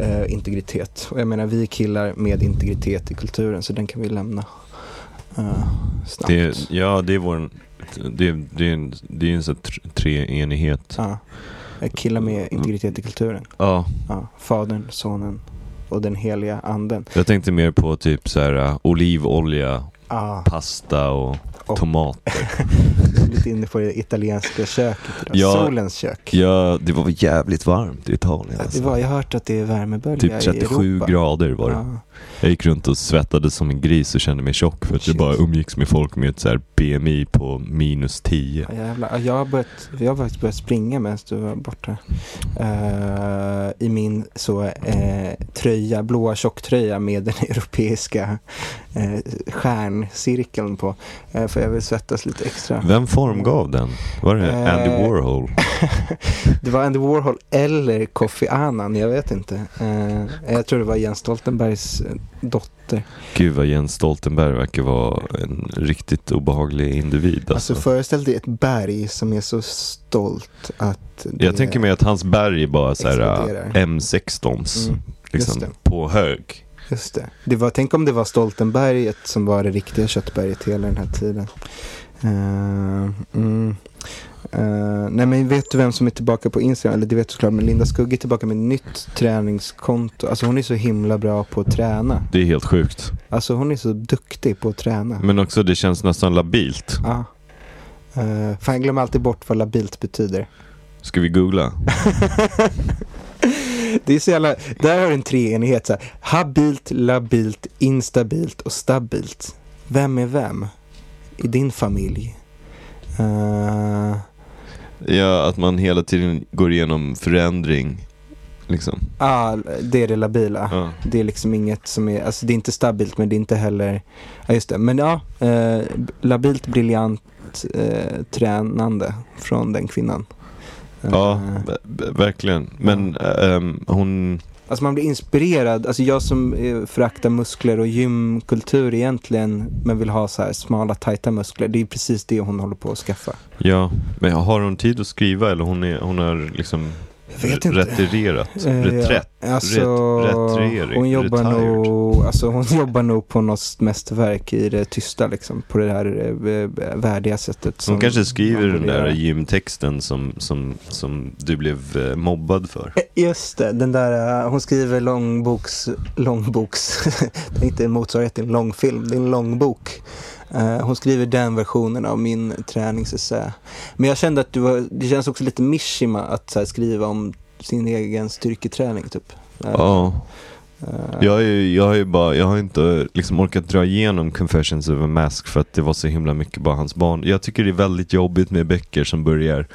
eh, integritet. Och jag menar vi är killar med integritet i kulturen så den kan vi lämna eh, snabbt. Det är, ja, det är vår... Det, är- det är en, det är en sån här tr- treenighet. Ja. killar med integritet i kulturen. Ja, Ja, fadern, sonen och den heliga anden. jag tänkte mer på typ så här äh, olivolja, Ja, pasta och, Och- tomat. lite inne på det italienska köket idag. Ja. Solens kök. Ja, det var jävligt varmt i Italien. Ja, det alltså. var, jag har hört att det är värmebölja Typ i 37 Europa. grader var det. Ja. Jag gick runt och svettades som en gris och kände mig tjock för att jag Shit. bara umgicks med folk med ett så här BMI på minus 10. Ja, jävlar. Ja, Jag har, börjat, jag har faktiskt börjat springa medan du var borta. Eh, I min så, eh, tröja, blåa tjocktröja med den *laughs* europeiska uh, stjärncirkeln på. Eh, för jag vill svettas lite extra. Vem formgav den? Var det Eh, Andy Warhol? *laughs* Det var Andy Warhol eller Kofi Annan, jag vet inte. Eh, jag tror det var Jens Stoltenbergs eh, dotter. Gud vad Jens Stoltenberg verkar vara en riktigt obehaglig individ alltså. Alltså föreställ dig ett berg som är så stolt att det Jag tänker mig att hans berg är bara så här Exploderar. äh, M16s Mm, liksom, det. på hög. Just det. det var, tänk om det var Stoltenberget som var det riktiga köttberget hela den här tiden. Eh, mm. Eh, nej men vet du vem som är tillbaka på Instagram? Eller det vet du såklart, men Linda Skugge är tillbaka med ett nytt träningskonto. Alltså hon är så himla bra på att träna. Det är helt sjukt. Alltså hon är så duktig på att träna. Men också det känns nästan labilt. Ja. Uh, fan, jag glömmer alltid bort vad labilt betyder. *laughs* Ska vi googla? det är så jävla, där har du en treenighet. Så här. Habilt, labilt, instabilt och stabilt. Vem är vem i din familj? Eh, Ja, att man hela tiden går igenom förändring. Liksom. ah, det är det labila. Ja. Det är liksom inget som är, alltså det är inte stabilt men det är inte heller, ja just det, men ja, eh, labilt briljant eh, tränande från den kvinnan. Ja, Eh, v- v- verkligen. Men ehm, hon... Alltså man blir inspirerad. Alltså jag som eh, föraktar muskler och gymkultur egentligen men vill ha så här smala tajta muskler. Det är ju precis det hon håller på att skaffa. Ja, men har hon tid att skriva eller hon, är, hon har liksom Jag vet inte. retirerat? Eh, Reträtt? ja. Alltså, retirering, hon jobbar retired. nog, alltså hon *laughs* jobbar nog på något mästerverk i det tysta liksom. På det här eh, värdiga sättet. Hon som kanske skriver man den borde där göra. gymtexten som, som, som du blev eh, mobbad för. Eh, Just det, den där, eh, hon skriver långboks, långboks, *laughs* det är inte en motsvarighet till en långfilm, det är en långbok. Eh, Hon skriver den versionen av min träningsessä. Men jag kände att du var, det känns också lite Mishima att så här, skriva om sin egen styrketräning typ. Eh, Ja, eh, jag har ju, jag har ju bara, jag har inte liksom orkat dra igenom Confessions of a Mask för att det var så himla mycket bara hans barn. Jag tycker det är väldigt jobbigt med böcker som börjar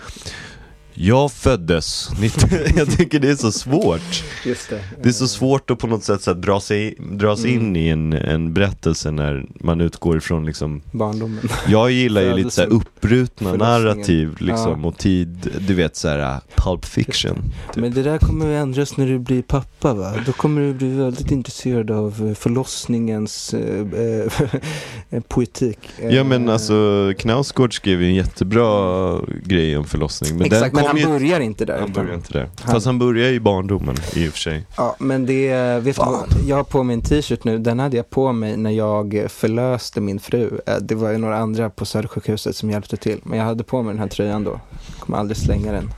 Jag föddes 19... *laughs* Jag tycker det är så svårt. Just det. Det är eh, så svårt att på något sätt så här, dra sig, dras Mm. in i en, en berättelse när man utgår ifrån liksom *laughs* Barndomen. typ. Jag gillar ju lite så här Födelsen. upprutna Förlossningen. narrativ liksom och tid, du vet så här äh, Pulp Fiction. Typ. Men det där kommer att ändras när du blir pappa va? Då kommer du bli väldigt intresserad av eh, förlossningens eh, eh, *laughs* poetik. Ja men Eh, alltså Knausgård skrev ju en jättebra grej om förlossning. Men Exakt, den men kom han ju... börjar inte där. Han utan- börjar inte där. Han- Fast han börjar i barndomen i och för sig. Ja, men det, vet du Fan. vad, jag har på mig en t-shirt nu, den hade jag på mig när jag förlöste min fru. Eh, Det var ju några andra på Södersjukhuset som hjälpte till, men jag hade på mig den här tröjan då. Jag kommer aldrig slänga den.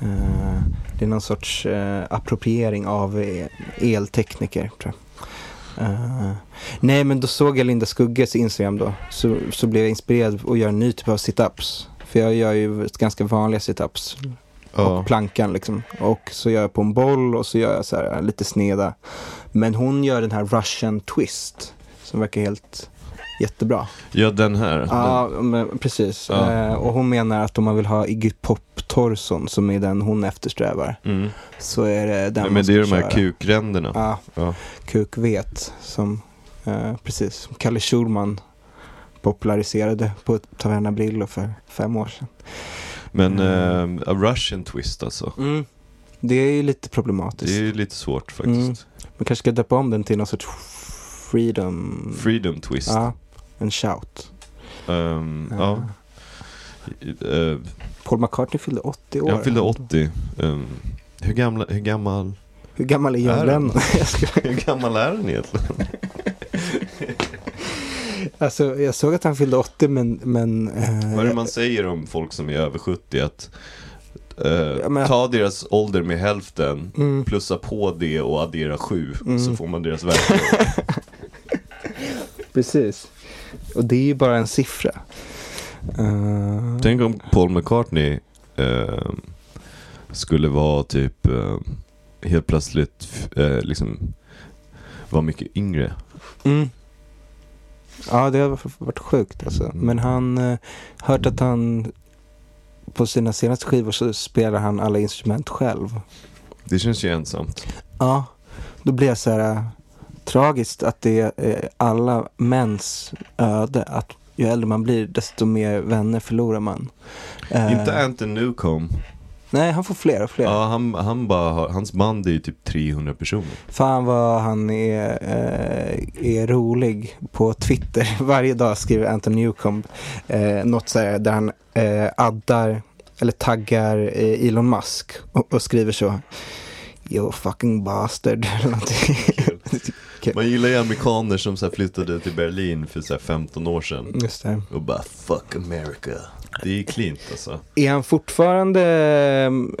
Eh, Det är någon sorts eh, appropriering av eh, eltekniker, tror jag. Eh, nej, men då såg jag Linda Skugges Instagram då, så, så blev jag inspirerad att göra en ny typ av sit-ups. För jag gör ju ganska vanliga sit-ups, Ja. och plankan liksom. Och så gör jag på en boll och så gör jag så här lite sneda. Men hon gör den här russian twist som verkar helt jättebra. Ja den här. Den. Ja, men precis. Ja. Eh, och hon menar att om man vill ha Iggy Pop-torson som är den hon eftersträvar Mm. så är det den Nej, man men det är ju ska de här köra. kukränderna. Ja, Ja. kukvet som eh, precis som Kalle Schulman populariserade på Taverna Brillo för fem år sedan. Men Mm. eh, a Russian twist alltså. Det är ju lite Det problematiskt. är ju lite svårt faktiskt. Man kanske ska döpa om den till någon sorts freedom... Freedom twist. Mm. Ja, en shout. Ehm, ja. Eh, Paul McCartney fyllde 80 år. jag fyllde 80. Ehm, hur, gamla, hur gammal Hur gammal är John Är Lennon? han? *laughs* Jag skojar. Hur gammal är den egentligen? alltså, jag såg att han fyllde 80 men... men eh, Vad är det man säger om folk som är över 70? Att eh, men- ta deras ålder med hälften, Mm, plussa på det och addera sju, Mm. så får man deras verklighet. precis. Och det är ju bara en siffra. Eh, Tänk om Paul McCartney eh, skulle vara typ eh, helt plötsligt f- eh, liksom var mycket yngre. Mm. Ja, det har varit sjukt alltså. Men han, eh, hört att han på sina senaste skivor så spelar han alla instrument själv. Det känns ju ensamt. Ja, då blir jag så här äh, tragiskt att det är eh, alla mäns öde att ju äldre man blir desto mer vänner förlorar man. Eh, Inte Anton Newcomb. Nej, han får fler och fler. Ja, han, han bara, har- hans band är ju typ 300 personer. Fan vad han är, eh, är rolig på Twitter. *laughs* Varje dag skriver Anton Newcomb eh, något så här där han eh, addar eller taggar eh, Elon Musk och, och skriver så. Yo fucking bastard. *laughs* eller *laughs* någonting. Man gillar ju amerikaner som så här flyttade till Berlin för så här 15 år sedan. Just det. Och bara fuck America. Det är ju klint alltså. Är han fortfarande,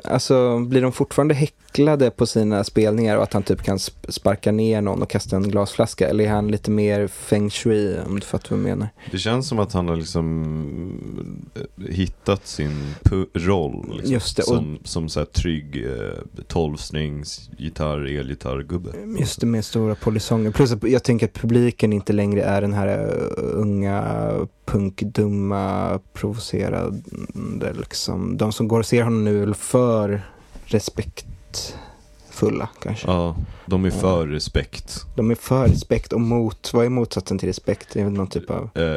eh, alltså blir de fortfarande häcklade på sina spelningar och att han typ kan sp- sparka ner någon och kasta en glasflaska? Eller är han lite mer feng shui om du fattar vad jag menar? Det känns som att han har liksom eh, hittat sin pu- roll. Liksom. Just det, och- Som, som så här trygg eh, tolvstrings gitarr, elgitarrgubbe. Just det med stora polisonger. Plus att jag tänker att publiken inte längre är den här eh, unga, punkdumma, provocerande liksom. De som går och ser honom nu är väl för respektfulla kanske. Ja, de är för respekt. De är för respekt och mot, vad är motsatsen till respekt? Det är väl någon typ av Eh,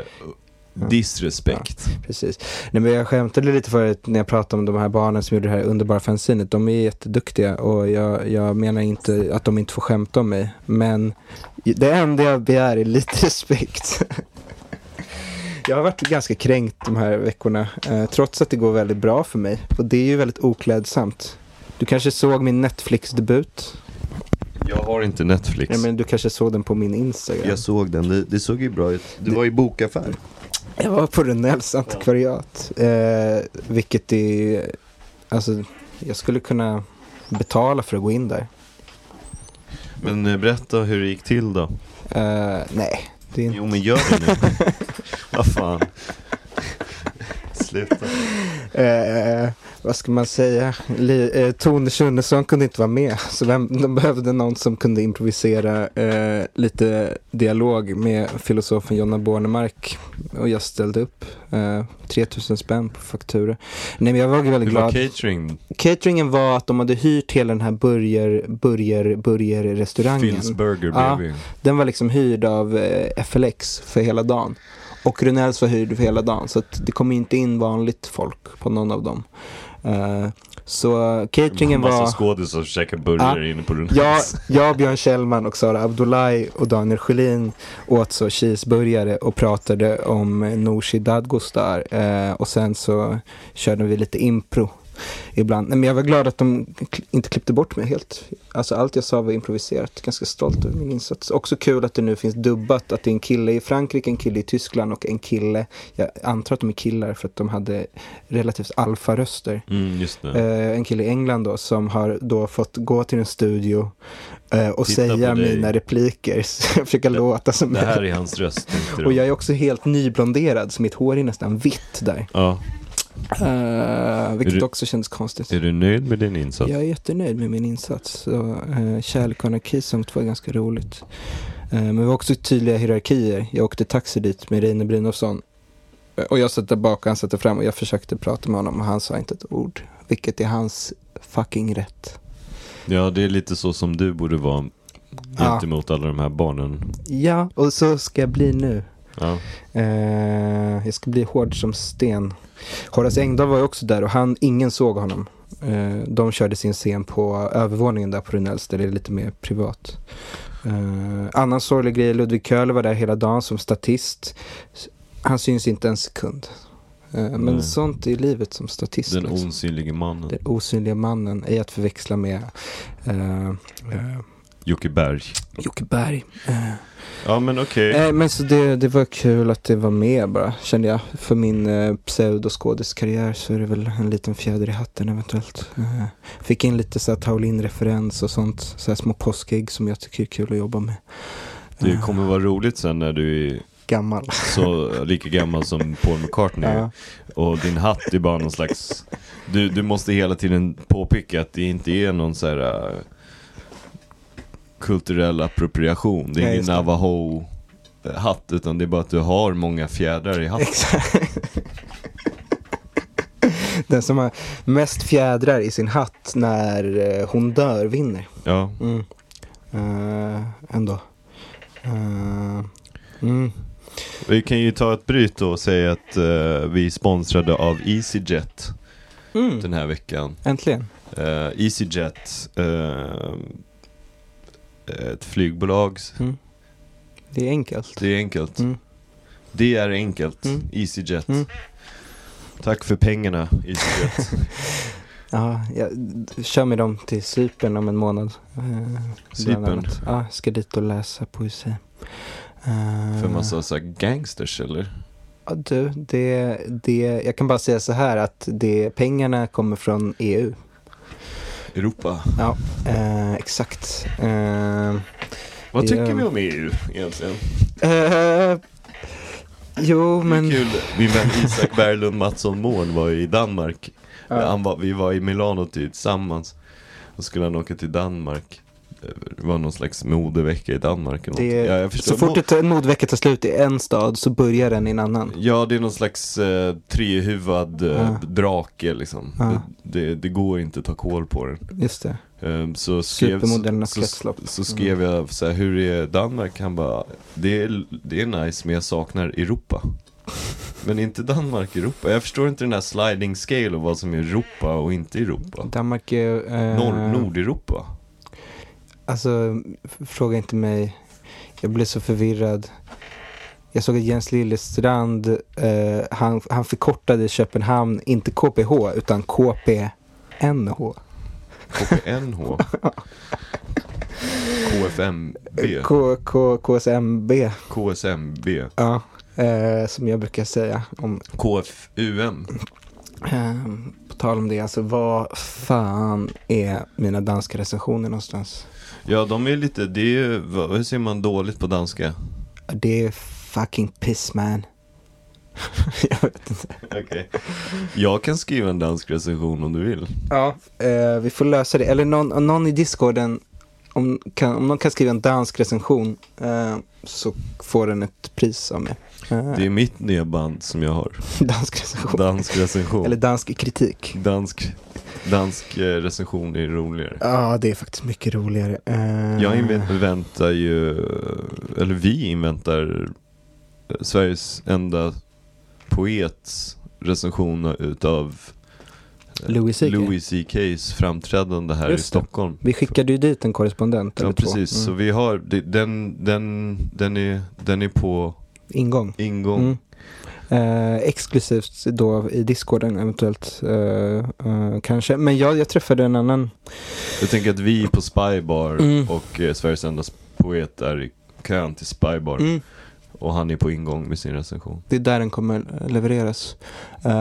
disrespekt. Precis. Nej, men jag skämtade lite förut när jag pratade om de här barnen som gjorde det här underbara fanzinet. De är jätteduktiga och jag, jag menar inte att de inte får skämta om mig. Men det enda jag begär är lite *laughs* respekt. Jag har varit ganska kränkt de här veckorna, eh, trots att det går väldigt bra för mig. Och det är ju väldigt oklädsamt. Du kanske såg min Netflix-debut? Jag har inte Netflix. Nej, men du kanske såg den på min Instagram? Jag såg den, det, det såg ju bra ut. Det var i bokaffär. Jag var på Rönnells antikvariat. Eh, vilket är... Alltså, jag skulle kunna betala för att gå in där. Men eh, berätta hur det gick till då. Eh, nej, det är inte... Jo men gör det nu. *laughs* Vad fan. Sluta. Eh, vad ska man säga, Li, eh, Tone Schunnesson kunde inte vara med. Så vem, de behövde någon som kunde improvisera eh, lite dialog med filosofen Jonna Bornemark. Och jag ställde upp. Eh, 3000 spänn på fakturor. Nej men jag var väldigt Hur var glad. catering? Cateringen var att de hade hyrt hela den här burger, burger, burgerrestaurangen. Phil's Burger Ja. bredvid. Den var liksom hyrd av eh, FLX för hela dagen. Och Runells var hyrd för hela dagen. Så att det kom inte in vanligt folk på någon av dem. Eh, så cateringen Massa var... skådisar som käkar burgare inne på Runells. Jag, jag, Björn Kjellman och Sara Abdullahi och Daniel Sjölin åt så cheeseburgare och pratade om eh, Nooshi Dadgostar. Eh, och sen så körde vi lite impro ibland. Nej, men jag var glad att de kl- inte klippte bort mig helt. Alltså allt jag sa var improviserat. Ganska stolt över min insats. Också kul att det nu finns dubbat. Att det är en kille i Frankrike, en kille i Tyskland och en kille. Jag antar att de är killar för att de hade relativt alfaröster. Mm, just det. Eh, en kille i England då som har då fått gå till en studio eh, och Titta på säga dig. mina repliker. *laughs* Så jag försöker låta som det här är hans röst. tänkte du. Och jag är också helt nyblonderad så mitt hår är nästan vitt där. Ja. Eh, vilket Är du- också känns konstigt. Är du nöjd med din insats? Jag är jättenöjd med min insats. Så, eh, kärlek och anarki sånt var ganska roligt. Eh, men vi var också tydliga hierarkier. Jag åkte taxi dit med Reine Brynolfsson. Eh, Och jag satt där bak och han satt där fram och jag försökte prata med honom och han sa inte ett ord. Vilket är hans fucking rätt. Ja, det är lite så som du borde vara gentemot alla de här barnen. Ja, och så ska jag bli nu. Ja. Eh, jag ska bli hård som sten. Horace Engdahl var ju också där och han, ingen såg honom. Eh, de körde sin scen på övervåningen där på Runells där det är lite mer privat. Eh, annan sorglig grej, Ludvig Köhler var där hela dagen som statist. S- Han syns inte en sekund. Eh, men Nej. sånt är livet som statist. Den liksom. osynlige mannen. Den osynliga mannen, ej att förväxla med eh, eh, Jocke Berg. Jocke Berg. Eh, Ja, men okej. Nej, Eh, men så det, det var kul att det var med bara, kände jag. För min eh, pseudoskådiskarriär så är det väl en liten fjäder i hatten eventuellt. Eh, fick in lite så här Taolin-referens och sånt, så här små påskägg som jag tycker är kul att jobba med. Det Eh, kommer vara roligt sen när du är Gammal. så lika gammal som Paul McCartney är. Ja. Och din hatt är bara någon slags... Du, du måste hela tiden påpeka att det inte är någon så här... äh, kulturell appropriation. Det är Nej, ingen just det. Navajo-hatt utan det är bara att du har många fjädrar i hatten. Exakt. Den som har mest fjädrar i sin hatt när eh, hon dör vinner. Ja. Mm. Eh, ändå. Eh, mm. Vi kan ju ta ett bryt då och säga att eh, vi är sponsrade av EasyJet Mm. den här veckan. Äntligen. Eh, EasyJet, eh, ett flygbolag. typ. Det är enkelt. Det är enkelt. Mm. Det är enkelt. Mm. EasyJet. Mm. Tack för pengarna, *laughs* EasyJet. Ja, jag kör med dem till Cypern om en månad. eh, bland Cypern. annat. Ja, ska dit och läsa poesi. Eh, för massa så här gangsters eller? Ja, du, det, det, jag kan bara säga så här att det, pengarna kommer från EU. Europa. Eh, exakt. Eh, Vad Ja. tycker vi om EU egentligen? eh, jo, Men... men... Kul. Min vän Isak Berglund Mattsson Mårn var ju i Danmark. Ja, Han var, vi var i Milano tillsammans. Då skulle han åka till Danmark. Det var någon slags modevecka i Danmark. Eller det, någonting. ja, jag så förstår. fort Mo- ett modvecka tar slut i en stad så börjar den i en annan. Ja, det är någon slags eh, trehuvad eh, Ja. drake liksom. Ja. Det, det, det går inte att ta koll på den. Just det. Ehm, så skrev, så, Supermodellernas så, kretslopp. Mm. så skrev jag så här, hur är Danmark? Han bara, det är, det är nice men jag saknar Europa. *laughs* Men inte Danmark, Europa. Jag förstår inte den här sliding scale och vad som är Europa och inte Europa. Danmark är... eh, Nor- Nordeuropa. Alltså, f- fråga inte mig. Jag blev så förvirrad. Jag såg att Jens Lillestrand, eh, han, han förkortade Köpenhamn, inte KPH, utan KPNH. *laughs* KPNH. KFMB. K, K, KSMB, KSMB. ja. Eh, som jag brukar säga. Om, KFUM. eh, på tal om det, alltså vad fan är mina danska recensioner någonstans? Ja, de är lite, det är ju, *laughs* vad- hur säger man dåligt på danska? Det är fucking piss man. *laughs* jag vet inte. Okej. Jag kan skriva en dansk recension om du vill. Ja, eh, vi får lösa det. Eller någon, någon i discorden, om, kan, om någon kan skriva en dansk recension eh, så får den ett pris av mig. Eh, Det är mitt nya band som jag har. *laughs* dansk recension. Dansk recension. Eller dansk kritik. Dansk, dansk eh, recension är roligare. Ja, det är faktiskt mycket roligare. Eh, Jag inväntar ju, eller vi inväntar eh, Sveriges enda poets recension utav eh, Louis CK. Louis CK's framträdande här Just i det. Stockholm. Vi skickade ju dit en korrespondent Ja eller två. precis, så Mm. vi har, det- den, den, den, är, den är på Ingång. ingång. Mm. Eh, exklusivt då i discorden eventuellt eh, eh, kanske. Men jag, jag träffade en annan Jag tänker att vi på Spybar Mm. och eh, Sveriges enda poet är i kön till Spybar Mm. och han är på ingång med sin recension. Det är där den kommer levereras. Eh,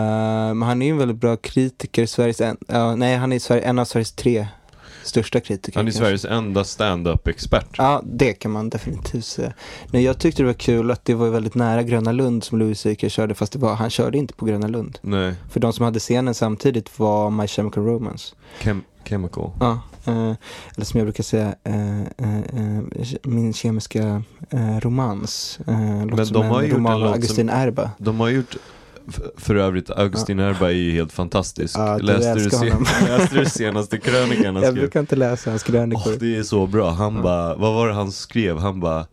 men han är ju en väldigt bra kritiker. Sveriges en, ja, nej, han är Sverige, en av Sveriges tre största kritiker. Han är kanske. Sveriges enda stand-up-expert. Ja, det kan man definitivt säga. Nej, jag tyckte det var kul att det var väldigt nära Gröna Lund som Louis CK körde, fast det var, han körde inte på Gröna Lund. Nej, För de som hade scenen samtidigt var My Chemical Romance. Chem- Chemical. Ja, eh, eller som jag brukar säga, eh, eh, eh, min kemiska eh, romans. Eh, låter de som har ju en gjort en roman låt av som- Augustin Erba. De har gjort, f- för övrigt, Augustin Erba är ju helt fantastisk. Ja, du älskar sen- honom. *laughs* läste du senaste krönikan han *laughs* Jag skrev? brukar inte läsa hans Åh, krönikor. det är så bra. Han Ja. bara, vad var det han skrev? Han bara,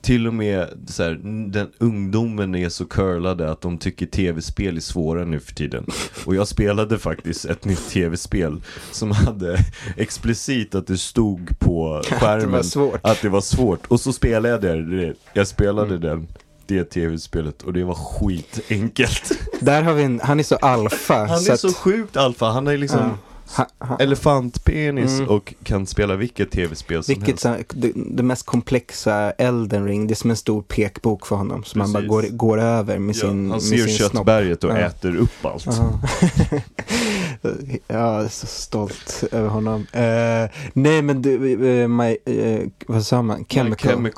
till och med så här, den ungdomen är så curlade att de tycker tv-spel är svåra nu för *laughs* tiden. Och jag spelade faktiskt ett nytt tv-spel som hade *laughs* explicit att det stod *laughs* på *laughs* Det var skärmen svårt. att det var svårt. Och så spelade jag det. Jag Mm. spelade den, det tv-spelet och det var skitenkelt. *laughs* Där har vi en, han är så alfa. Han så är så att, sjukt alfa. Han är liksom Ja. ha, ha, elefantpenis Mm. och kan spela vilket tv-spel som vilket helst. så här, det, det mest komplexa Elden Ring, det är som en stor pekbok för honom. Som han bara Precis. går, går över med ja, sin han med ser sin snopp. köttberget och Ja. äter upp allt. Ja. *laughs* jag är så stolt över honom. Eh, nej men du, eh, my, eh, vad sa man? Chemical, My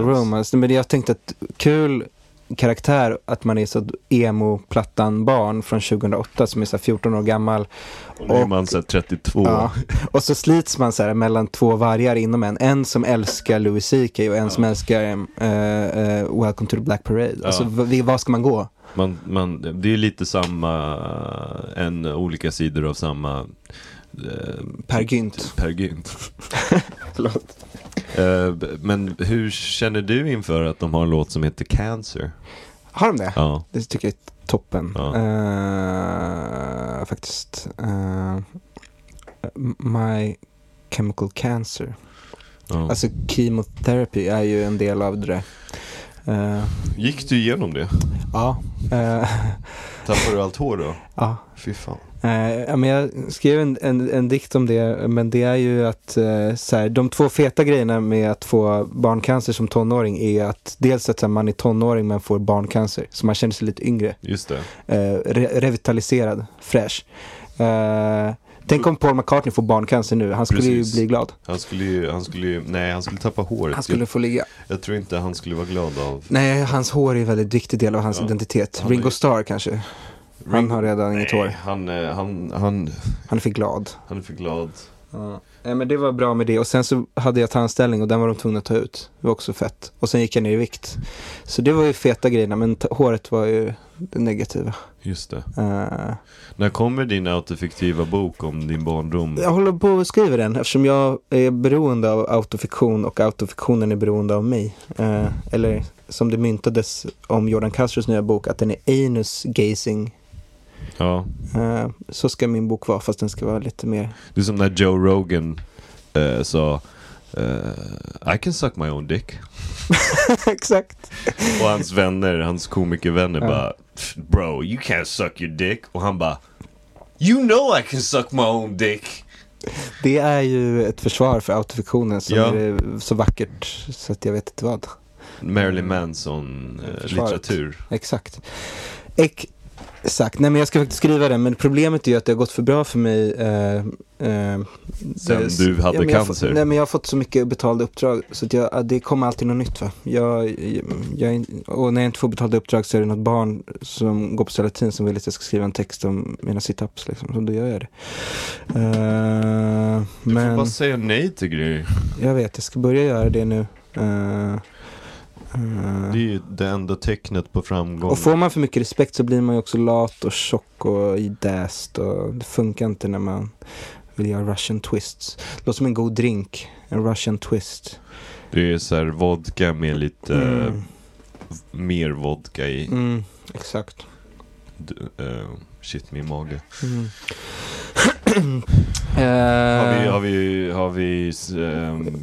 romance. romance. Men jag tänkte att kul karaktär att man är så emo-plattan barn från 2008 som är så här 14 år gammal. Och nu är Och- man såhär 32. Ja. Och så slits man så här mellan två vargar inom en. En som älskar Louis CK och en som älskar eh, eh, Welcome to the Black Parade. Ja. Alltså v- var ska man gå? *laughs* Man, man, det är lite samma, eh, en olika sidor av samma eh, Per Gynt. Per Gynt. Förlåt. Eh, b- men hur känner du inför att de har en låt som heter Cancer? Har de det? Ja. Det tycker jag är toppen. Ja. Eh, faktiskt. Eh, my Chemical Cancer. ja. Alltså chemotherapy är ju en del av det där. Eh, Gick du igenom det? Ja. Eh, Tappade du allt hår då? ja. Fy fan. Eh, ja, men jag skrev en, en, en dikt om det, men det är ju att eh, så här, de två feta grejerna med att få barncancer som tonåring är att dels att så här, man är tonåring men får barncancer, så man känner sig lite yngre, Just det. eh, re- revitaliserad, fräsch. Eh, tänk om Paul McCartney får barncancer nu, han skulle Precis. ju bli glad. Han skulle ju, han skulle ju, nej han skulle tappa håret. Han skulle få ligga. jag, jag tror inte han skulle vara glad av. Nej, hans hår är en väldigt viktig del av hans Ja. identitet. Han är- Ringo Starr kanske. Han Ringo- har redan inget hår. Nej, han, eh, han, han, Han är för glad. han är för glad. Ja. Nej, men det var bra med det. Och sen så hade jag tandställning och den var de tvungna att ta ut. Det var också fett. Och sen gick jag ner i vikt. Så det var ju feta grejerna, men t- håret var ju det negativa. Just det. Eh, När kommer din autofiktiva bok om din barndom? jag håller på och skriver den eftersom jag är beroende av autofiktion och autofiktionen är beroende av mig. Eh, eller som det myntades om Jordan Castros nya bok, att den är anus gazing. Ja. Eh, så ska min bok vara, fast den ska vara lite mer... *laughs* Det är som när Joe Rogan eh, sa eh, I can suck my own dick. Exakt. Och hans vänner, hans komikervänner Ja. bara "Pff, Bro, you can't suck your dick. Och han bara You know I can suck my own dick. Det är ju ett försvar för autofiktionen som Ja. är så vackert så att jag vet inte vad. Marilyn Manson eh, Mm. Försvaret. litteratur. Exakt. Ek- Exakt. Nej, men jag ska faktiskt skriva den. Men problemet är ju att det har gått för bra för mig. Eh, eh, Sen Sen du hade men jag har fått- cancer. Nej, men jag har fått så mycket betalda uppdrag. Så att jag, det kommer alltid något nytt. Va? Jag, jag, och när jag inte får betalda uppdrag så är det något barn som går på Solatin som vill att jag ska skriva en text om mina situps. Liksom. Så då gör jag det. Eh, Du får men bara säga nej till grejer. jag vet, jag ska börja göra det nu. Eh, eh. Det är ju det enda tecknet på framgång. Och får man för mycket respekt så blir man ju också lat och tjock och idäst och det funkar inte när man vill göra russian twists. Det låter som en god drink, en russian twist. Det är så här vodka med lite eh, Mm, mer vodka i. mm, exakt. D- eh, shit, min mage. *clears throat* Mm. Har vi, Eh, har vi, har vi ehm,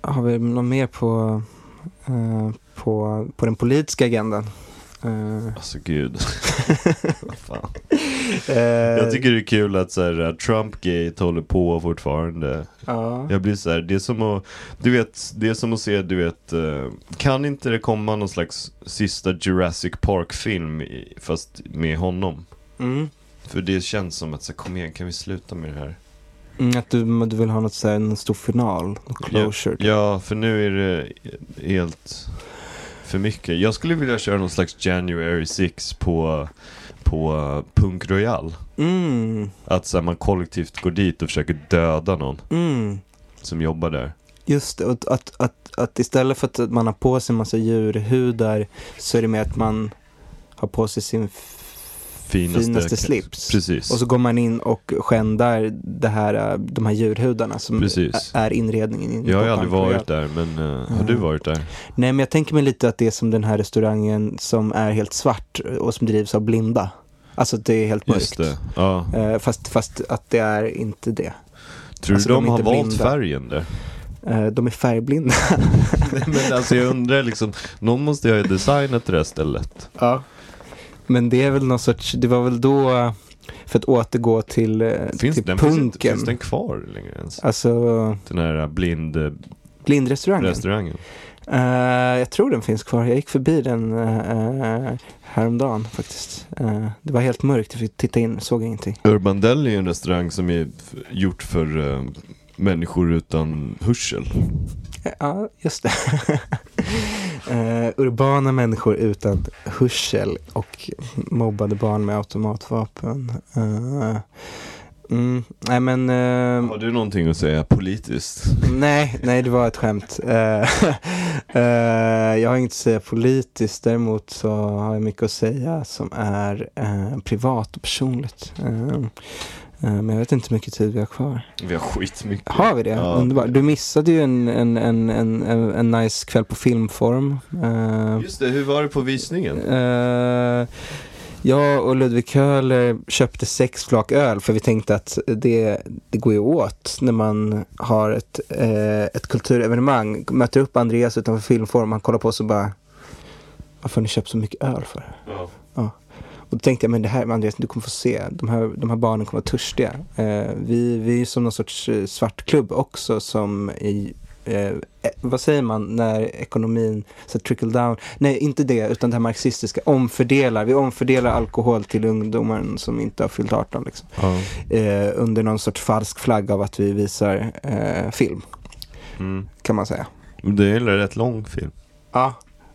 Har vi något mer på, eh, på, på den politiska agendan? Eh, alltså gud. Vad fan. *laughs* eh, Jag tycker det är kul att så här, eh, Trump-gate håller på fortfarande. ja. Jag blir så här, det är som att, du vet, det är som att se, du vet, eh, kan inte det komma någon slags sista Jurassic Park-film i- fast med honom? Mm. För det känns som att så här, kom igen, kan vi sluta med det här? Mm, att du, du vill ha något så här, en stor final, och closure. typ. Ja, för nu är det helt för mycket. Jag skulle vilja köra någon slags January 6 på, på eh, Punk Royal. Mm, Att så här, man kollektivt går dit och försöker döda någon mm. som jobbar där. Just det, och att, att, att, att istället för att man har på sig en massa djurhudar så är det mer att man har på sig sin f- Finaste- slips. Precis. Och så går man in och skändar det här, eh, de här djurhudarna som Precis. ä- är inredningen. inne Jag har på ju aldrig Punk Royal. varit där, men eh, har du Mm. varit där? Nej, men jag tänker mig lite att det är som den här restaurangen som är helt svart och som drivs av blinda. Alltså att det är helt mörkt. Just det. Ja. Eh, Fast, fast att det är inte det. Tror Alltså, du de de, är har inte valt blinda. färgen *laughs* där? Eh, De är färgblinda. Nej, men alltså jag undrar liksom, någon måste ju ha designat det där stället. Ja. Men det är väl någon sorts, det var väl då, för att återgå till, eh, Finns, till den, finns, punken. inte, finns den kvar längre ens? Alltså Den här eh, blindrestaurangen? blindrestaurangen. Eh, jag tror den finns kvar. Jag gick förbi den uh, häromdagen faktiskt. Eh, det var helt mörkt, jag fick titta in, såg ingenting. Urban Deli är en restaurang som är f- gjort för eh, människor utan hörsel. Eh, Ja, just det. *laughs* Eh, urbana människor utan hörsel och mobbade barn med automatvapen. Eh, mm, nej men... eh, Har du någonting att säga politiskt? Nej, nej det var ett skämt. Eh, eh, jag har inget att säga politiskt, däremot så har jag mycket att säga som är eh, privat och personligt. Eh, eh, men jag vet inte hur mycket tid vi har kvar. Vi har skitmycket. Har vi det? Ja. Underbart. Du missade ju en, en, en, en, en, en nice kväll på filmform. Eh, Just det, hur var det på visningen? Eh, jag och Ludvig Köhler köpte sex flak öl för vi tänkte att det, det går ju åt när man har ett, eh, ett kulturevenemang. Möter upp Andreas utanför filmform, han kollar på oss och bara Varför har ni köpt så mycket öl för? Ja. Och då tänkte jag, men det här med Andreas, du kommer få se. De här, de här barnen kommer vara törstiga. Eh, vi, vi är ju som någon sorts eh, svartklubb också som i, eh, eh, vad säger man när ekonomin så trickle down? Nej, inte det, utan det här marxistiska. Omfördelar. Vi omfördelar alkohol till ungdomar som inte har fyllt 18 liksom. Eh, under någon sorts falsk flagg av att vi visar eh, film, Mm. kan man säga. Det är en rätt lång film. Ja.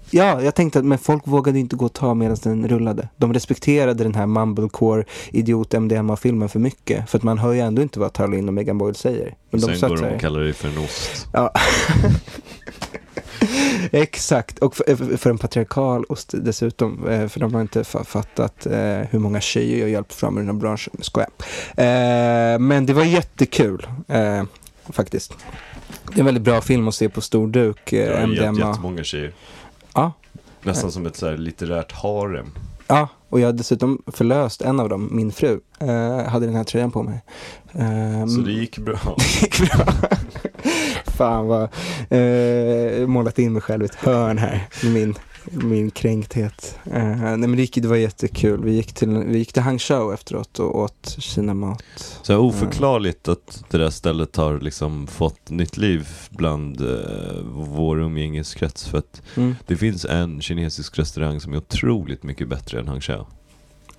Ja, jag tänkte att men folk vågade inte gå och ta medan den rullade. De respekterade den här mumblecore idiot MDMA-filmen för mycket. För att man hör ju ändå inte vad Tarlin och Megan Boyle säger. Men de Sen satt går så de och här. kallar det för en ost. Exakt, och för, för en patriarkal ost dessutom. eh, För de har inte fa- fattat eh, hur många tjejer jag hjälpt fram ur den här branschen. Skoja. Eh, men det var jättekul, eh, faktiskt. Det är en väldigt bra film att se på stor duk, Jag eh, har gett MDMA. jättemånga tjejer. Ja. Nästan som ett så här litterärt harem. Ja, och jag har dessutom förlöst en av dem, min fru, eh, hade den här tröjan på mig. Eh, Så det *laughs* gick bra. gick bra. Fan vad, eh, målat in mig själv i ett hörn här, med min, min kränkthet. Eh, nej men det, gick, det var jättekul, vi gick till, vi gick till Hangzhou efteråt och åt kinamat. Så här oförklarligt att det där stället har liksom fått nytt liv bland eh, vår umgängeskrets för att Mm. det finns en kinesisk restaurang som är otroligt mycket bättre än Hang Chao.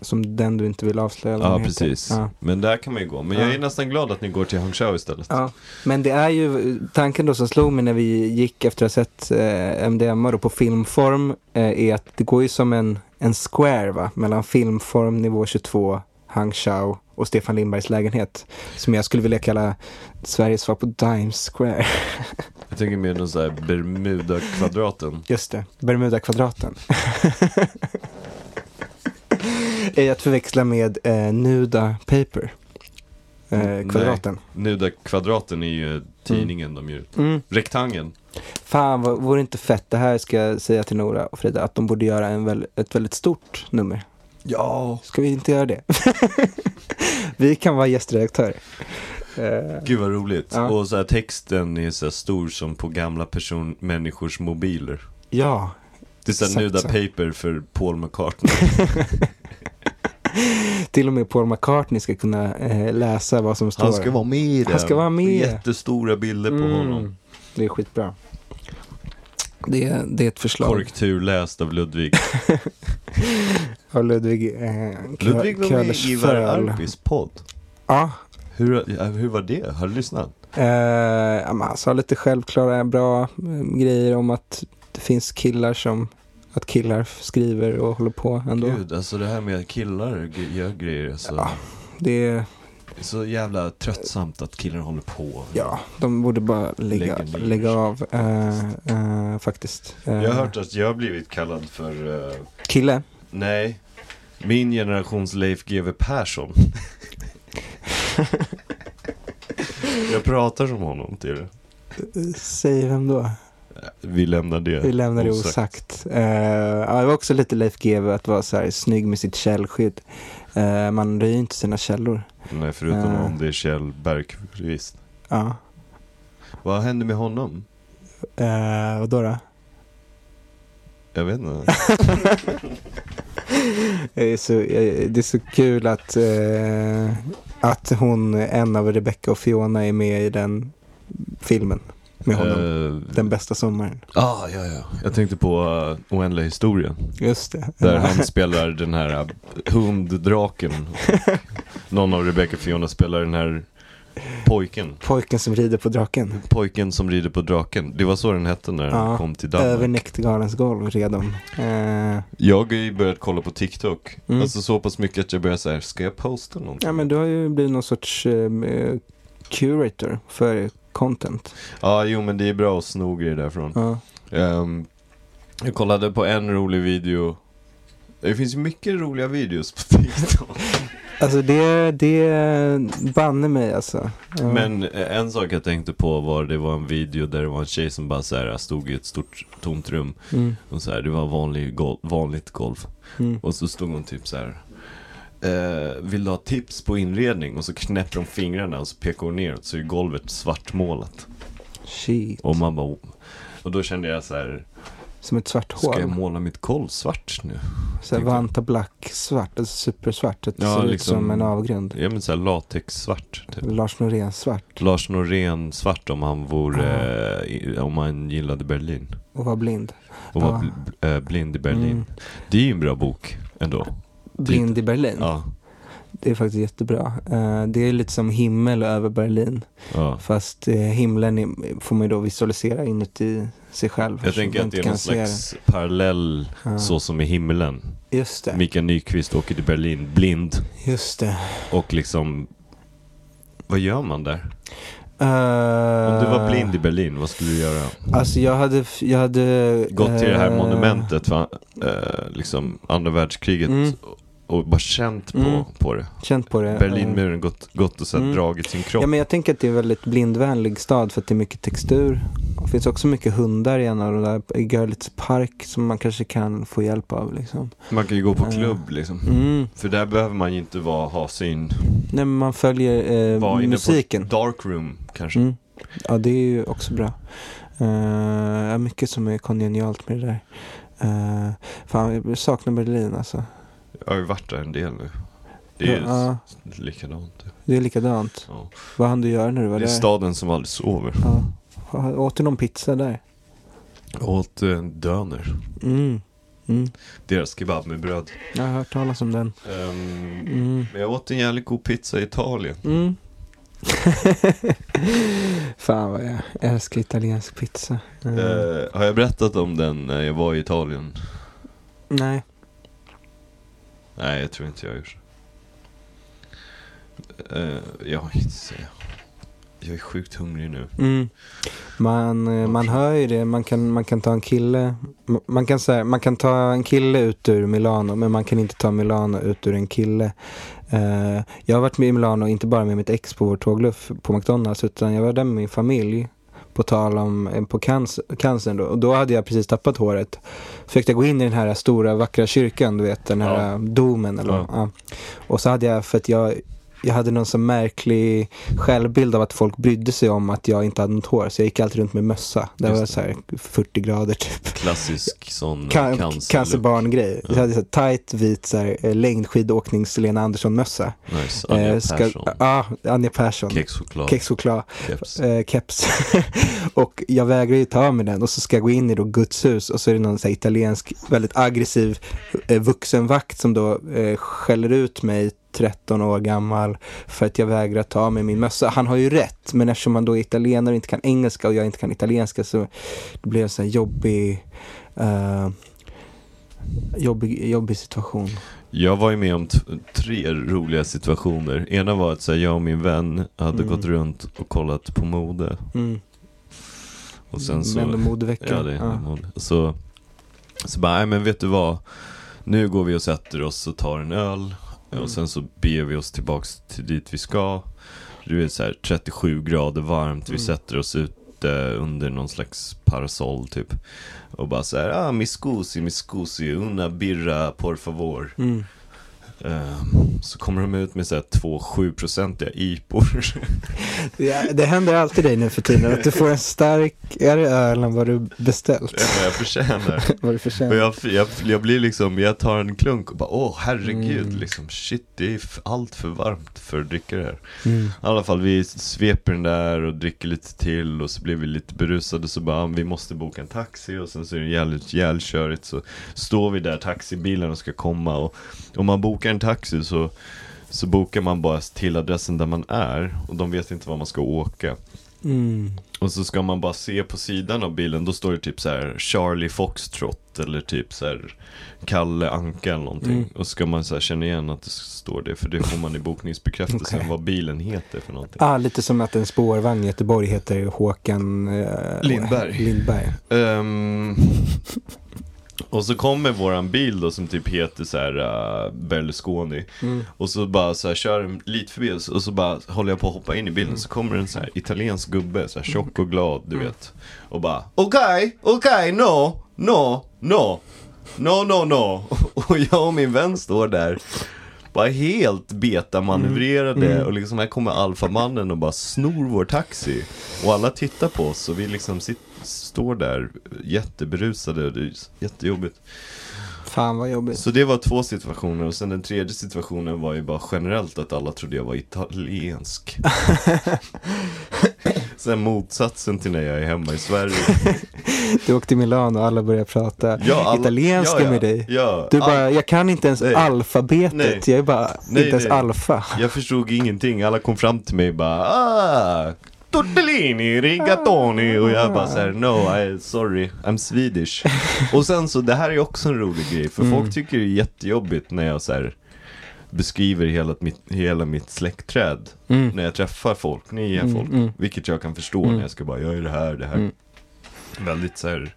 som den du inte vill avslöja. eller vad Ja, den heter. precis. Ja. Men där kan man ju gå. Men jag Ja. är nästan glad att ni går till Hangzhou istället. Ja, men det är ju tanken då som slog mig när vi gick efter att ha sett eh, MDMA då på filmform eh, är att det går ju som en, en square va? mellan filmform nivå 22, Hang Chao och Stefan Lindbergs lägenhet som jag skulle vilja kalla Sveriges svar på Dimes Square. *laughs* Jag tänker mer någon sån här Bermuda-kvadraten. Just det, Bermudakvadraten. *laughs* är att förväxla med eh, Nuda Paper. Eh, Mm, kvadraten. Nuda-kvadraten är ju tidningen de gör. Mm. Rektangeln. Fan, vad, vore det inte fett, det här ska jag säga till Nora och Frida, att de borde göra en väl, ett väldigt stort nummer. Ja. Ska vi inte göra det? *laughs* vi kan vara gästredaktörer. Eh, Gud vad roligt. Ja. Och så här texten är så här stor som på gamla person- människors mobiler. ja, Det är så här Exakt Nuda så. Paper för Paul *laughs* McCartney. till och med Paul McCartney ska kunna eh, läsa vad som står. Han ska vara med i den. Han ska vara med. Mm, Jättestora bilder på honom. Det är skitbra. Det, det är ett förslag Korrekturläst av *laughs* Ludvig. av Ludvig eh, Kö- Ludvig var med i Ivar Köhlersföl. Arpis podd. Ja, Hur, ja, hur var det? Har du lyssnat? Eh, ja, men han sa lite självklara bra eh, grejer om att det finns killar som att killar f- skriver och håller på ändå. Gud, alltså det här med killar g- gör grejer. Alltså. Ja. Det är, Det är så jävla tröttsamt att killar håller på. ja, de borde bara lägga, Lägger ner. lägga av eh, eh, faktiskt. Eh, Jag har hört att jag har blivit kallad för, eh, Kille? nej, min generations Leif GW *laughs* Persson. jag pratar som honom till det. Säg vem då? Vi lämnar det Vi lämnar det osagt. Eh, ja, det var också lite Leif GW att vara så här snygg med sitt källskydd. Eh, man röjer ju inte sina källor. Nej, förutom Eh. om det är Kjell Bergqvist. Ja. Vad hände med honom? Eh, och då då? Jag vet inte. Det är så, eh, det är så kul att, eh, att hon, en av Rebecca och Fiona, är med i den filmen *laughs* med honom. Eh, Den bästa sommaren. ah, ja, ja. Jag tänkte på eh, Oändliga historien. Just det. Där Ja. han spelar den här eh, hunddraken. Och Någon av Rebecca och Fiona spelar den här pojken. Pojken som rider på draken. Pojken som rider på draken. Det var så den hette när den Ja, kom till Över Danmark. näktergalens golv redan. Eh, Jag har ju börjat kolla på TikTok. Mm. Alltså så pass mycket att jag börjar säga, ska jag posta någonting? ja, men du har ju blivit någon sorts eh, curator för content. Ja, jo men det är bra att sno grejer därifrån. Ja. Ehm, jag kollade på en rolig video. Det finns ju mycket roliga videos på *laughs* TikTok. Alltså det, det banne mig alltså. Ja. Men eh, en sak jag tänkte på var det var en video där det var en tjej som bara så här eh, stod i ett stort tomt rum Mm, och så här, det var vanlig gol- vanligt golv mm. och så stod hon typ så här eh, vill du ha tips på inredning? Och så knäpper hon fingrarna och så pekar hon neråt så är golvet svartmålat. Shit. Och man bara "Oh." och då kände jag så här, Som ett svart hål. ska jag måla mitt golv svart nu? Så här Tänkte- Vanta Black svart, alltså supersvart. Det Ja, ser liksom- ut som en avgrund. Ja men så här latexsvart typ. Lars Norén svart Lars Norén svart om han vore, Ah. eh, om han gillade Berlin. och var blind. Och var Ah. bl- eh, blind i Berlin. Mm. Det är ju en bra bok ändå. Blind i Berlin. Ja. Det är faktiskt jättebra. Eh, Det är lite som himmel över Berlin. ja. Fast eh, himlen är- får man ju då visualisera inuti sig själv. Jag så tänker man att det inte är kan någon se Ah. slags parallell det. Ja, så som i himlen. Just det. Mikael Nyqvist åker till Berlin blind Just det. och liksom vad gör man där? Eh, Om du var blind i Berlin, vad skulle du göra? Alltså jag hade... f- Jag hade Gått till det här eh, monumentet, va? Eh, liksom andra världskriget Mm. och bara känt på, Mm. på det. Känt på det. Eh, Berlinmuren gått, gått och så här Mm. dragit sin kropp. Ja, men jag tänker att det är en väldigt blindvänlig stad för att det är mycket textur. Det finns också mycket hundar i en av de där, i Görlitz park, som man kanske kan få hjälp av. Liksom. Man kan ju gå på Eh. klubb liksom. Mm. För där behöver man ju inte vara, ha sin Nej, men man följer eh, Var inne på- musiken. dark room kanske. Mm. Ja, det är ju också bra. Eh, ja, mycket som är kongenialt med det där. Uh, fan, jag saknar Berlin alltså. Jag har ju varit där en del nu. Det är Ja, likadant. typ. det är likadant. Ja. Vad hann du göra när du Det var är där? staden som aldrig sover. Ja. Åt du någon pizza där? Jag åt eh, en döner. Mm. Mm. Deras kebab med bröd. Jag har hört talas om den. Ehm, Mm. men jag åt en jävligt god pizza i Italien. Mm. *laughs* Fan vad jag älskar italiensk pizza. Mm. Eh, har jag berättat om den när jag var i Italien? Nej. Nej, jag tror inte jag har gjort det. Eh, jag har inte så- Jag är sjukt hungrig nu. Mm. Man, eh, man hör ju det. Man kan, man kan ta en kille. ma- Man kan, så här, man kan ta en kille ut ur Milano. Men man kan inte ta Milano ut ur en kille. Eh, jag har varit med i Milano. Inte bara med mitt ex på vår tågluff på McDonalds. Utan jag var där med min familj. På tal om eh, på cancer, cancern då. Och då hade jag precis tappat håret. Så fick jag gå in i den här stora vackra kyrkan. Du vet den här eh, domen. Eller, Ja. vad- ja. Och så hade jag för att jag jag hade någon så märklig självbild av att folk brydde sig om att jag inte hade något hår. Så jag gick alltid runt med mössa. Det Just var det. så här 40 grader typ. Klassisk sån Can- cancer. Cancerbarn-grej. Jag hade så här tight vit så här, eh, längdskidåknings-Lena Andersson-mössa. Nice. Anja Eh, Persson. Ja, Anja Persson. Kexchoklad. Kexchoklad, Keps. eh, keps. *laughs* och jag vägrar ju ta av mig den och så ska jag gå in i då Guds hus och så är det någon så här italiensk, väldigt aggressiv eh, vuxenvakt som då eh, skäller ut mig 13 år gammal för att jag vägrar ta av mig min mössa. Han har ju rätt, men eftersom man då är italienare och inte kan engelska och jag inte kan italienska så det blev en sån här jobbig, eh, jobbig, jobbig situation. Jag var ju med om t- tre roliga situationer. Ena var att så här, jag och min vän hade Mm. gått runt och kollat på mode. Mm. Och sen så... Men modeveckan. Ja, det är en mode. Så, så bara, nej men vet du vad? Nu går vi och sätter oss och tar en öl. Mm. Och sen så beger vi oss tillbaks till dit vi ska. Det är så här 37 grader varmt. Vi Mm. sätter oss ute under någon slags parasoll typ. Och bara så här, ah, mi scusi, mi scusi, una birra por favor. Mm. Ehm, så kommer de ut med så här två 7-procentiga IPOR. *laughs* Ja, det händer alltid dig nu för tiden att du får en starkare öl än vad du Det beställt. är vad jag förtjänar. Vad du Och förtjänar. jag, jag, jag blir liksom, jag tar en klunk och bara åh herregud Mm. liksom shit det är f- allt för varmt för att dricka det här. Mm. I alla fall vi sveper den där och dricker lite till och så blir vi lite berusade så bara ah, vi måste boka en taxi och sen så är det jävligt jävligt så står vi där taxibilen och ska komma och om man bokar en taxi så så bokar man bara till adressen där man är och de vet inte var man ska åka. Mm. Och så ska man bara se på sidan av bilen, då står det typ så här Charlie Foxtrot eller typ så här Kalle Anka eller någonting. Mm. Och så ska man så här känna igen att det står det, för det får man i bokningsbekräftelsen *laughs* Okej. vad bilen heter för någonting. Ah, lite som att en spårvagn i Göteborg heter Håkan eh, Lindberg. Lindberg. Ehm, och så kommer våran bil då som typ heter så här uh, Berlusconi. Mm. Och så bara så här kör den lite förbi oss och så bara håller jag på att hoppa in i bilen så kommer en så här italiensk gubbe, så här tjock och glad du vet. Och bara okej, okej, no, no, no, no, no, no. *laughs* Och jag och min vän står där. Bara helt betamanövrerade och liksom här kommer alfamannen och bara snor vår taxi. Och alla tittar på oss och vi liksom sit- står där jätteberusade och det är jättejobbigt. Fan vad jobbigt. Så det var två situationer och sen den tredje situationen var ju bara generellt att alla trodde jag var *laughs* italiensk. sen motsatsen till när jag är hemma i Sverige. Du åkte till Milano och alla började prata Ja, alla- italienska ja, ja, med dig. Ja, Du all- bara, jag kan inte ens Nej. alfabetet. Nej. Jag är bara Nej, inte ens nej. alfa. Jag förstod ingenting, alla kom fram till mig och bara ah, Tortellini, rigatoni och jag bara såhär no, I, sorry, I'm Swedish. Och sen så, det här är också en rolig grej för Mm. folk tycker det är jättejobbigt när jag såhär beskriver hela mitt, hela mitt släktträd. Mm. När jag träffar folk, nya folk, mm. vilket jag kan förstå när jag ska bara, jag är det här, det här. Mm. Väldigt såhär,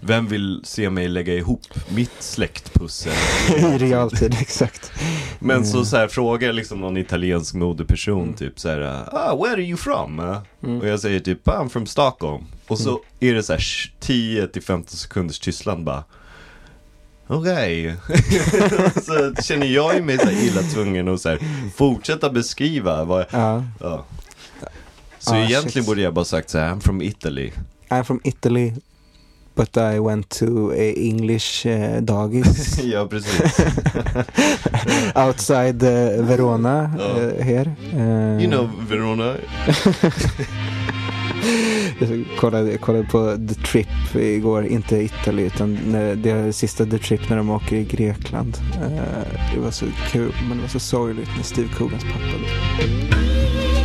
vem vill se mig lägga ihop mitt släktpussel? *laughs* I realtid, exakt. Men så, Mm. så här, frågar liksom någon italiensk modeperson typ så här, ah, where are you from? Eh, Mm. Och jag säger typ, I'm from Stockholm. Och så är det så här 10-15 sekunders tystnad bara. Okej. *laughs* så känner jag ju mig så här illa tvungen att så här, fortsätta beskriva. Vad, Ja. ja. Så Ah, egentligen shit. borde jag bara sagt så här, I'm from Italy. *laughs* I'm from Italy. But I went to a English eh, dagis. ja, precis. outside eh, Verona Ja. eh, här. Eh, You know Verona. Jag kollade, jag kollade på The Trip igår, inte Italy utan när, det sista The Trip när de åker i Grekland. Eh, Det var så kul men det var så sorgligt när Steve Coogens pappa dog.